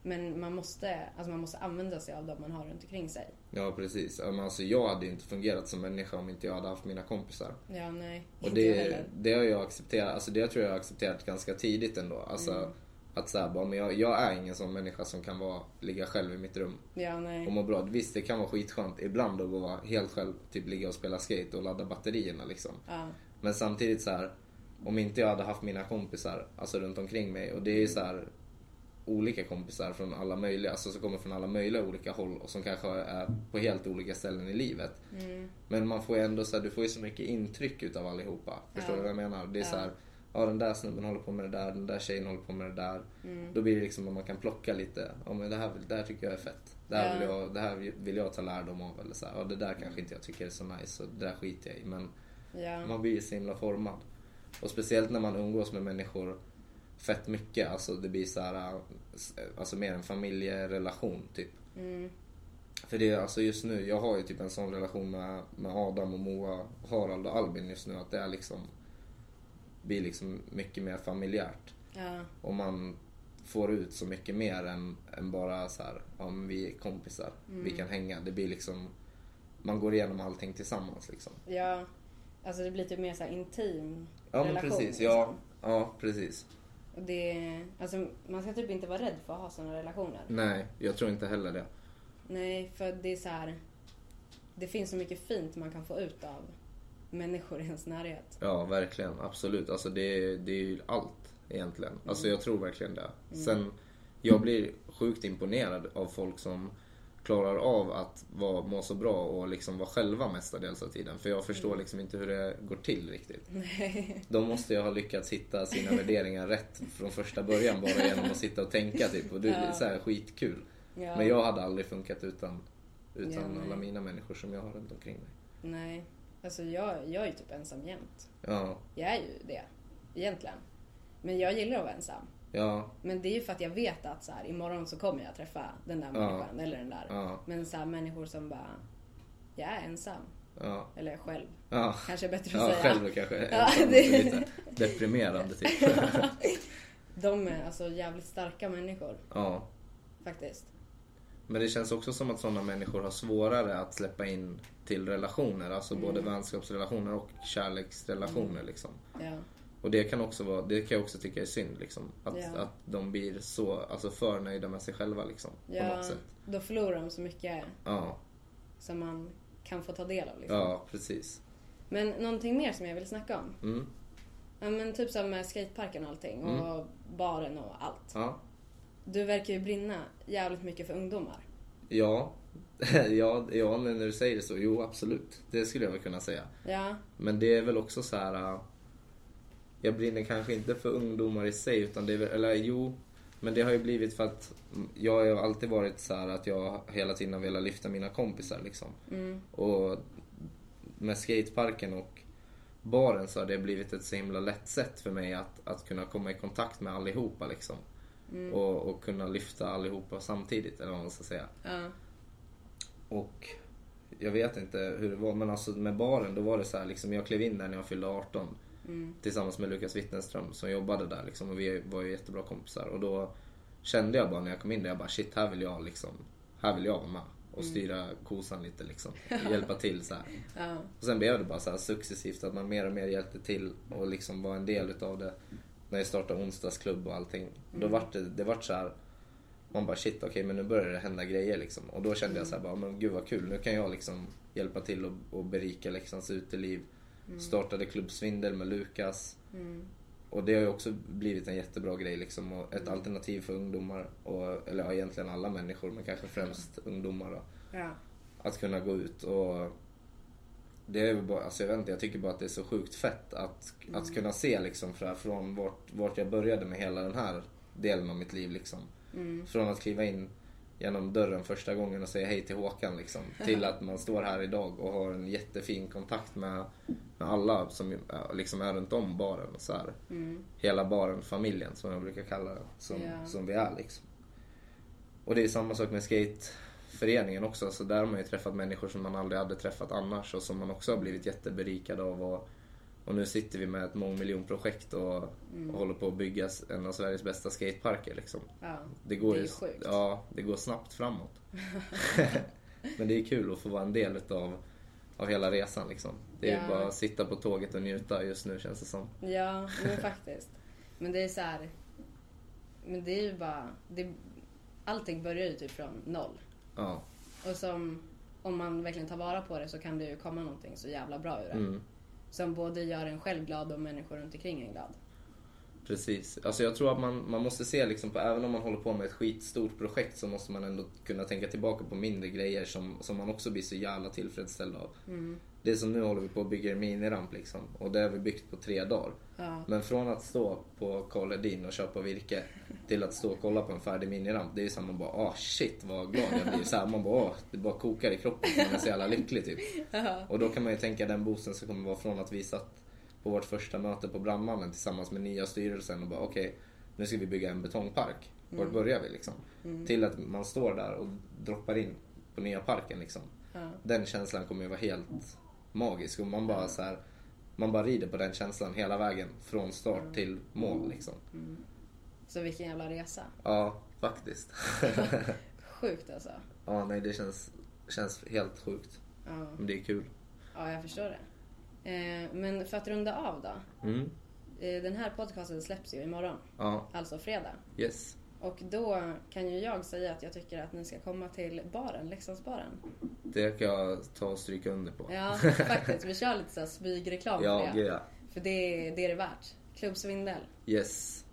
Speaker 1: Men man måste, alltså man måste använda sig av de man har runt omkring sig.
Speaker 7: Ja, precis. Ja, men Alltså, jag hade ju inte fungerat som människa om inte jag hade haft mina kompisar.
Speaker 1: Ja, nej.
Speaker 7: Och
Speaker 1: inte jag
Speaker 7: det,
Speaker 1: heller.
Speaker 7: det har jag accepterat, alltså det tror jag har accepterat ganska tidigt ändå. Alltså
Speaker 1: Mm.
Speaker 7: att såhär bara, men jag, jag är ingen sån människa som kan vara, ligga själv i mitt rum
Speaker 1: Ja, nej.
Speaker 7: och må bra. Visst det kan vara skitskönt ibland att vara helt själv, typ ligga och spela skate och ladda batterierna liksom.
Speaker 1: Ja,
Speaker 7: Men samtidigt så här, om inte jag hade haft mina kompisar alltså runt omkring mig och det är ju så här olika kompisar från alla möjliga, alltså som kommer från alla möjliga olika håll och som kanske är på helt olika ställen i livet. Men man får ju ändå så här, du får ju så mycket intryck utav allihopa. Förstår du vad jag menar? Det är så här, ja den där snubben håller på med det där, den där tjejen håller på med det där. Då blir det liksom att man kan plocka lite, ja men det här, vill- det här tycker jag är fett. Det här, vill, jag, det här vill jag ta lärdom av eller så här, ja det där kanske inte jag tycker är så nice och det där skiter jag i. Men
Speaker 1: ja.
Speaker 7: man blir ju så himla formad. Och speciellt när man umgås med människor fett mycket. Alltså det blir så här, äh, s- alltså mer en familjerelation typ. För det är alltså just nu, jag har ju typ en sån relation med, med Adam och Moa, Harald och Albin just nu. Att det är liksom, blir liksom mycket mer familjärt.
Speaker 1: ja.
Speaker 7: Och man får ut så mycket mer än, än bara så här, ja men vi är kompisar, vi kan hänga. Det blir liksom, man går igenom allting tillsammans liksom.
Speaker 1: ja. Alltså det blir typ mer så här intim
Speaker 7: Ja men
Speaker 1: relation.
Speaker 7: precis, ja,
Speaker 1: liksom.
Speaker 7: ja precis.
Speaker 1: Och det, alltså man ska typ inte vara rädd för att ha sådana relationer.
Speaker 7: Nej, jag tror inte heller det.
Speaker 1: Nej, för det är så här. Det finns så mycket fint man kan få ut av människor i ens närhet.
Speaker 7: Ja, verkligen. Absolut. Alltså det, är- det är ju allt egentligen. Alltså jag tror verkligen det.
Speaker 1: Mm.
Speaker 7: Sen, jag blir sjukt imponerad av folk som klarar av att vara, må så bra och liksom vara själva mestadels av tiden. För jag förstår
Speaker 1: Mm.
Speaker 7: liksom inte hur det går till riktigt. De måste ju ha lyckats hitta sina värderingar rätt från första början bara genom att sitta och tänka typ. Och det är så här skitkul.
Speaker 1: Ja.
Speaker 7: Men jag hade aldrig funkat utan, utan
Speaker 1: Ja,
Speaker 7: alla
Speaker 1: nej.
Speaker 7: mina människor som jag har runt omkring mig.
Speaker 1: Nej. Alltså jag, jag är ju typ ensam jämt.
Speaker 7: Ja,
Speaker 1: Jag är ju det. Egentligen. Men jag gillar att vara ensam.
Speaker 7: ja,
Speaker 1: Men det är ju för att jag vet att så här, imorgon så kommer jag träffa den där människan eller den där.
Speaker 7: Ja.
Speaker 1: Men så här, människor som bara, jag är ensam.
Speaker 7: ja.
Speaker 1: Eller jag är själv.
Speaker 7: ja.
Speaker 1: Kanske är bättre att
Speaker 7: Ja,
Speaker 1: säga.
Speaker 7: själv då kanske.
Speaker 1: Ja,
Speaker 7: ensam och
Speaker 1: det-
Speaker 7: lite deprimerande typ.
Speaker 1: De är alltså jävligt starka människor
Speaker 7: Ja.
Speaker 1: faktiskt.
Speaker 7: Men det känns också som att sådana människor har svårare att släppa in till relationer. Alltså både
Speaker 1: Mm.
Speaker 7: vänskapsrelationer och kärleksrelationer liksom.
Speaker 1: Ja.
Speaker 7: Och det kan också vara, det kan jag också tycka är synd liksom. Att,
Speaker 1: Ja.
Speaker 7: att de blir så, alltså för nöjda med sig själva liksom. På
Speaker 1: Ja,
Speaker 7: något sätt.
Speaker 1: då förlorar de så mycket
Speaker 7: Ja,
Speaker 1: som man kan få ta del av. Liksom.
Speaker 7: ja precis.
Speaker 1: Men någonting mer som jag vill snacka om.
Speaker 7: Mm.
Speaker 1: Ja, men typ som med skateparken och allting och baren och allt.
Speaker 7: Ja.
Speaker 1: Du verkar ju brinna jävligt mycket för ungdomar.
Speaker 7: Ja. ja, ja, men när du säger det så, jo absolut. Det skulle jag väl kunna säga.
Speaker 1: Ja,
Speaker 7: Men det är väl också så här. äh, Jag brinner kanske inte för ungdomar i sig utan det är väl, eller jo. Men det har ju blivit för att mm, jag har ju alltid varit så här att jag hela tiden har velat lyfta mina kompisar liksom. Och med skateparken och baren så har det blivit ett så himla lätt sätt för mig att, att kunna komma i kontakt med allihopa liksom. Och, och kunna lyfta allihopa samtidigt eller vad man ska säga.
Speaker 1: ja,
Speaker 7: Och jag vet inte hur det var, men alltså med baren då var det så här, liksom, jag klev in där när jag fyllde 18. Tillsammans med Lukas Wittenström som jobbade där liksom, och vi var ju jättebra kompisar. Och då kände jag bara när jag kom in där, jag bara shit här vill jag liksom, här vill jag vara med. Och styra kosan lite liksom. Hjälpa till så här. Och sen blev det bara så här successivt att man mer och mer hjälpte till och liksom var en del utav det. När jag startade onsdagsklubb och allting. Då vart det, det vart så här man bara shit, okej men nu börjar det hända grejer liksom. Och då kände jag så här bara, men gud vad kul, nu kan jag liksom hjälpa till och, och berika Leksands uteliv. Startade klubbsvindel med Lukas. Och det har ju också blivit en jättebra grej liksom. Och ett alternativ för ungdomar, och, eller ja, egentligen alla människor men kanske främst ungdomar då.
Speaker 1: ja,
Speaker 7: Att kunna gå ut och Det är väl bara, alltså jag vet inte, jag tycker bara att det är så sjukt fett att, att kunna se liksom fra- från vart, vart jag började med hela den här delen av mitt liv liksom. Från att kliva in genom dörren första gången och säga hej till Håkan liksom. Till att man står här idag och har en jättefin kontakt med, med alla som ju- ja, liksom är runt om baren och så här. Hela baren, familjen som jag brukar kalla den. Som,
Speaker 8: Ja.
Speaker 7: som vi är liksom. Och det är samma sak med skateföreningen också. Så där har man ju träffat människor som man aldrig hade träffat annars och som man också har blivit jätteberikad av. Och, och nu sitter vi med ett mångmiljonprojekt och,
Speaker 8: Mm.
Speaker 7: och håller på att bygga s- en av Sveriges bästa skateparker. Liksom.
Speaker 8: Ja.
Speaker 7: Det, går
Speaker 8: Det är
Speaker 7: ju,
Speaker 8: sjukt.
Speaker 7: Ja, det går snabbt framåt. Men det är kul att få vara en del utav, av hela resan. Liksom. Det är ju
Speaker 8: Ja.
Speaker 7: bara att sitta på tåget och njuta just nu känns det som.
Speaker 8: Ja, men faktiskt. Men det är så här. Men det är ju bara... Det, allting börjar ju typ från noll.
Speaker 7: Ja,
Speaker 8: Och som, om man verkligen tar vara på det så kan det ju komma någonting så jävla bra ur det.
Speaker 7: Mm.
Speaker 8: Som både gör en själv glad och människor runt omkring en glad.
Speaker 7: precis. Alltså jag tror att man, man måste se liksom på, även om man håller på med ett skitstort projekt så måste man ändå kunna tänka tillbaka på mindre grejer som, som man också blir så jävla tillfredsställd av. Det är som nu håller vi på att bygga en miniramp liksom och det har vi byggt på tre dagar.
Speaker 8: Ja.
Speaker 7: Men från att stå på Karl Hedin och köpa virke till att stå och kolla på en färdig miniramp. Det är ju såhär man bara ah shit vad glad jag blir. Så här, man bara ah, det bara kokar i kroppen. Man är så jävla lycklig typ. Och då kan man ju tänka den boosten som kommer vara från att vi satt på vårt första möte på brandmannen tillsammans med nya styrelsen och bara okej nu ska vi bygga en betongpark. Vart börjar vi liksom? Till att man står där och droppar in på nya parken liksom. Den känslan kommer ju vara helt magisk och man bara så här, man bara rider på den känslan hela vägen från start till mål liksom.
Speaker 8: Så vilken jävla resa.
Speaker 7: Ja, faktiskt.
Speaker 8: Sjukt alltså.
Speaker 7: ja, nej det känns, känns helt sjukt.
Speaker 8: Ja,
Speaker 7: Men det är kul.
Speaker 8: ja jag förstår det. Eh, men för att runda av då.
Speaker 7: Mm.
Speaker 8: Eh, den här podcasten släpps ju imorgon.
Speaker 7: Ja,
Speaker 8: Alltså fredag.
Speaker 7: yes.
Speaker 8: Och då kan ju jag säga att jag tycker att ni ska komma till baren, Leksandsbaren.
Speaker 7: Det kan jag ta och stryka under på.
Speaker 8: Ja, faktiskt. Vi kör lite så här smygreklam
Speaker 7: Ja,
Speaker 8: för
Speaker 7: ja.
Speaker 8: det. För det, är- det är det värt. Klubb Svindel.
Speaker 7: Yes.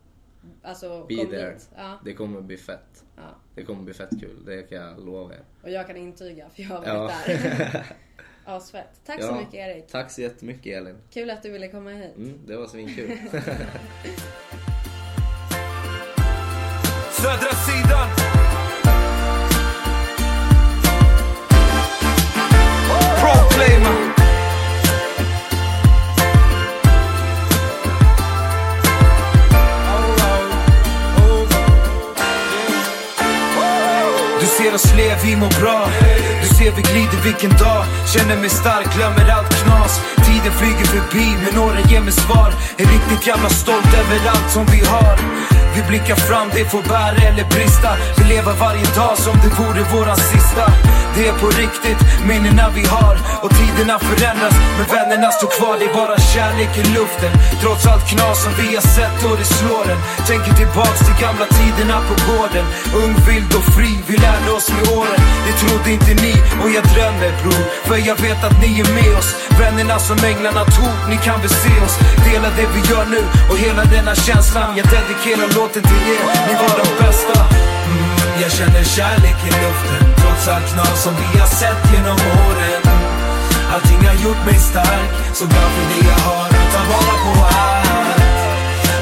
Speaker 8: Alltså,
Speaker 7: Be
Speaker 8: kom
Speaker 7: there.
Speaker 8: hit. Ja,
Speaker 7: Det kommer bli fett.
Speaker 8: ja.
Speaker 7: Det kommer bli fett kul, det kan jag lova er.
Speaker 8: Och jag kan intyga för jag har
Speaker 7: Ja.
Speaker 8: varit där. Asfett. Tack så
Speaker 7: Ja.
Speaker 8: mycket Erik.
Speaker 7: Tack så jättemycket Elin.
Speaker 8: Kul att du ville komma hit.
Speaker 7: Mm, det var svinkul.
Speaker 6: Södra sidan. Proclaimer. Oh, Du ser oss le, vi mår bra. Du ser vi glider vilken dag. Känner mig stark, glömmer allt knas. Tiden flyger förbi, men åren ger mig svar. Är riktigt jävla stolt över allt som vi har. Vi blickar fram, det får bära eller brista. Vi lever varje dag som det vore våran sista. Det är på riktigt, minnena vi har. Och tiderna förändras, men vännerna står kvar. Det är bara kärlek i luften. Trots allt knas som vi har sett och det slår en. Tänker tillbaks till gamla tiderna på gården. Ung, vild och fri, vi lärde oss med åren. Det trodde inte ni och jag drömmer bror. För jag vet att ni är med oss. Vännerna som änglarna tog, ni kan väl se oss. Dela det vi gör nu och hela denna känslan. Jag dedikerar låten till er, ni var de bästa. Mm, jag känner kärlek i luften. Trots allt knas som vi har sett genom åren. Allting har gjort mig stark Så glad för det jag har och tar vara på allt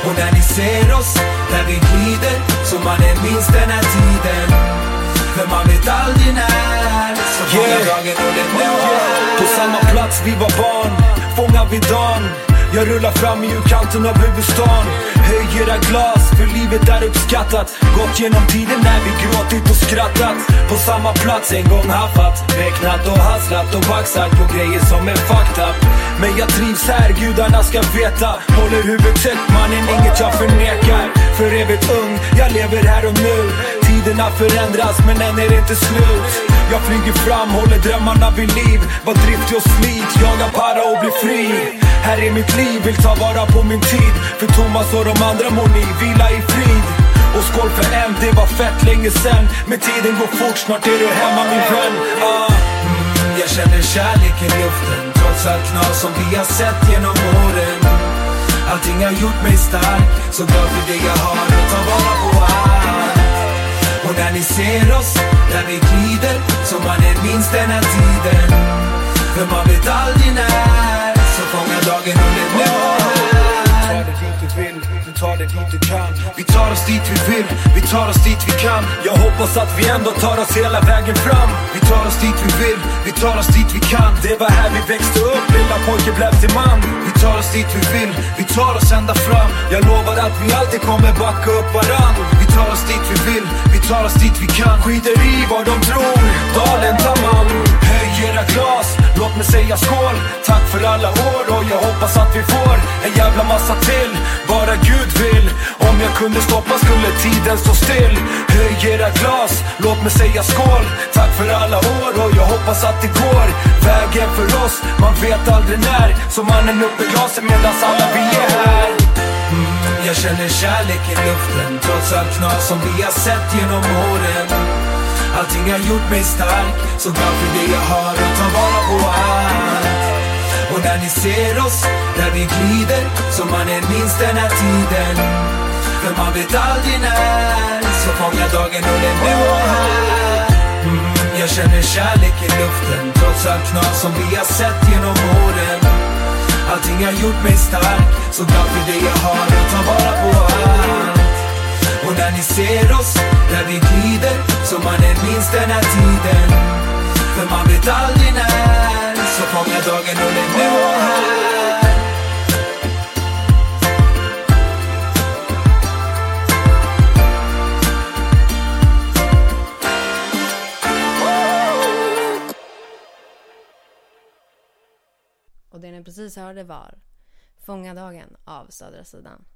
Speaker 6: Och när ni ser oss, när vi glider Så man är minst den här tiden För man vet aldrig när Så fångar dagen och den nu är På samma plats vi var barn Fångar vi dagen jag rullar fram i kanten av huvudstaden Höj era glas, för livet är uppskattat Gått genom tiden när vi gråtit och skrattat På samma plats en gång haffat Räknat och hasslat och baxat på grejer som är fucked up Men jag trivs här, gudarna ska veta Håller huvudet högt mannen, inget jag förnekar För evigt ung, jag lever här och nu Tiderna förändras men än är det inte slut Jag flyger fram, håller drömmarna vid liv Var driftig och slit, jagar para och blir fri Här är mitt liv, vill ta vara på min tid För Thomas och de andra må ni vila i frid och skål för en, det var fett länge sen Men tiden går fort, snart är du hemma min vän ah. mm, Jag känner kärlek i luften Trots allt knas som vi har sett genom åren Allting har gjort mig stark Så glad för det jag har och tar vara på allt Och när ni ser oss, när vi glider Så man är minst den här tiden För man vet aldrig när Så fångar dagen hunnit nå här
Speaker 9: Du tar det dit du kan
Speaker 6: Vi tar oss dit vi vill, vi tar oss dit vi kan
Speaker 9: Jag hoppas att vi ändå tar oss hela vägen fram
Speaker 6: Vi tar oss dit vi vill, vi tar oss dit vi kan
Speaker 9: Det var här vi växte upp, lilla pojken blev till man
Speaker 6: Vi tar oss dit vi vill, vi tar oss ända fram
Speaker 9: Jag lovar att vi alltid kommer backa upp varann
Speaker 6: Vi tar oss dit vi vill, vi tar oss dit vi kan
Speaker 9: Skiter i vad de tror, dalen tar man Höj era glas, låt mig säga skål Tack för alla år och jag hoppas att vi får en jävla massa till Bara Gud vill Om jag kunde stoppa skulle tiden stå still Höj era glas, låt mig säga skål Tack för alla år och jag hoppas att det går Vägen för oss, man vet aldrig när Så mannen upp i glasen medan alla vi är här
Speaker 6: Mm, jag känner kärlek i luften Trots allt knas som vi har sett genom åren Allting har gjort mig stark Så glad för det jag har och tar vara på allt Och när ni ser oss, där vi glider Så man än minns den här tiden För man vet aldrig när Så fångar dagen och den nu och här Mm, jag känner kärlek i luften Trots allt knas som vi har sett genom åren Allting har gjort mig stark Så glad för det jag har och tar vara på allt Och när ni ser oss, där vi glider Så man än minns den här tiden För man vet aldrig när Så fångar dagen och den nu och här
Speaker 1: Och det ni precis hörde var Fånga dagen av Södra sidan.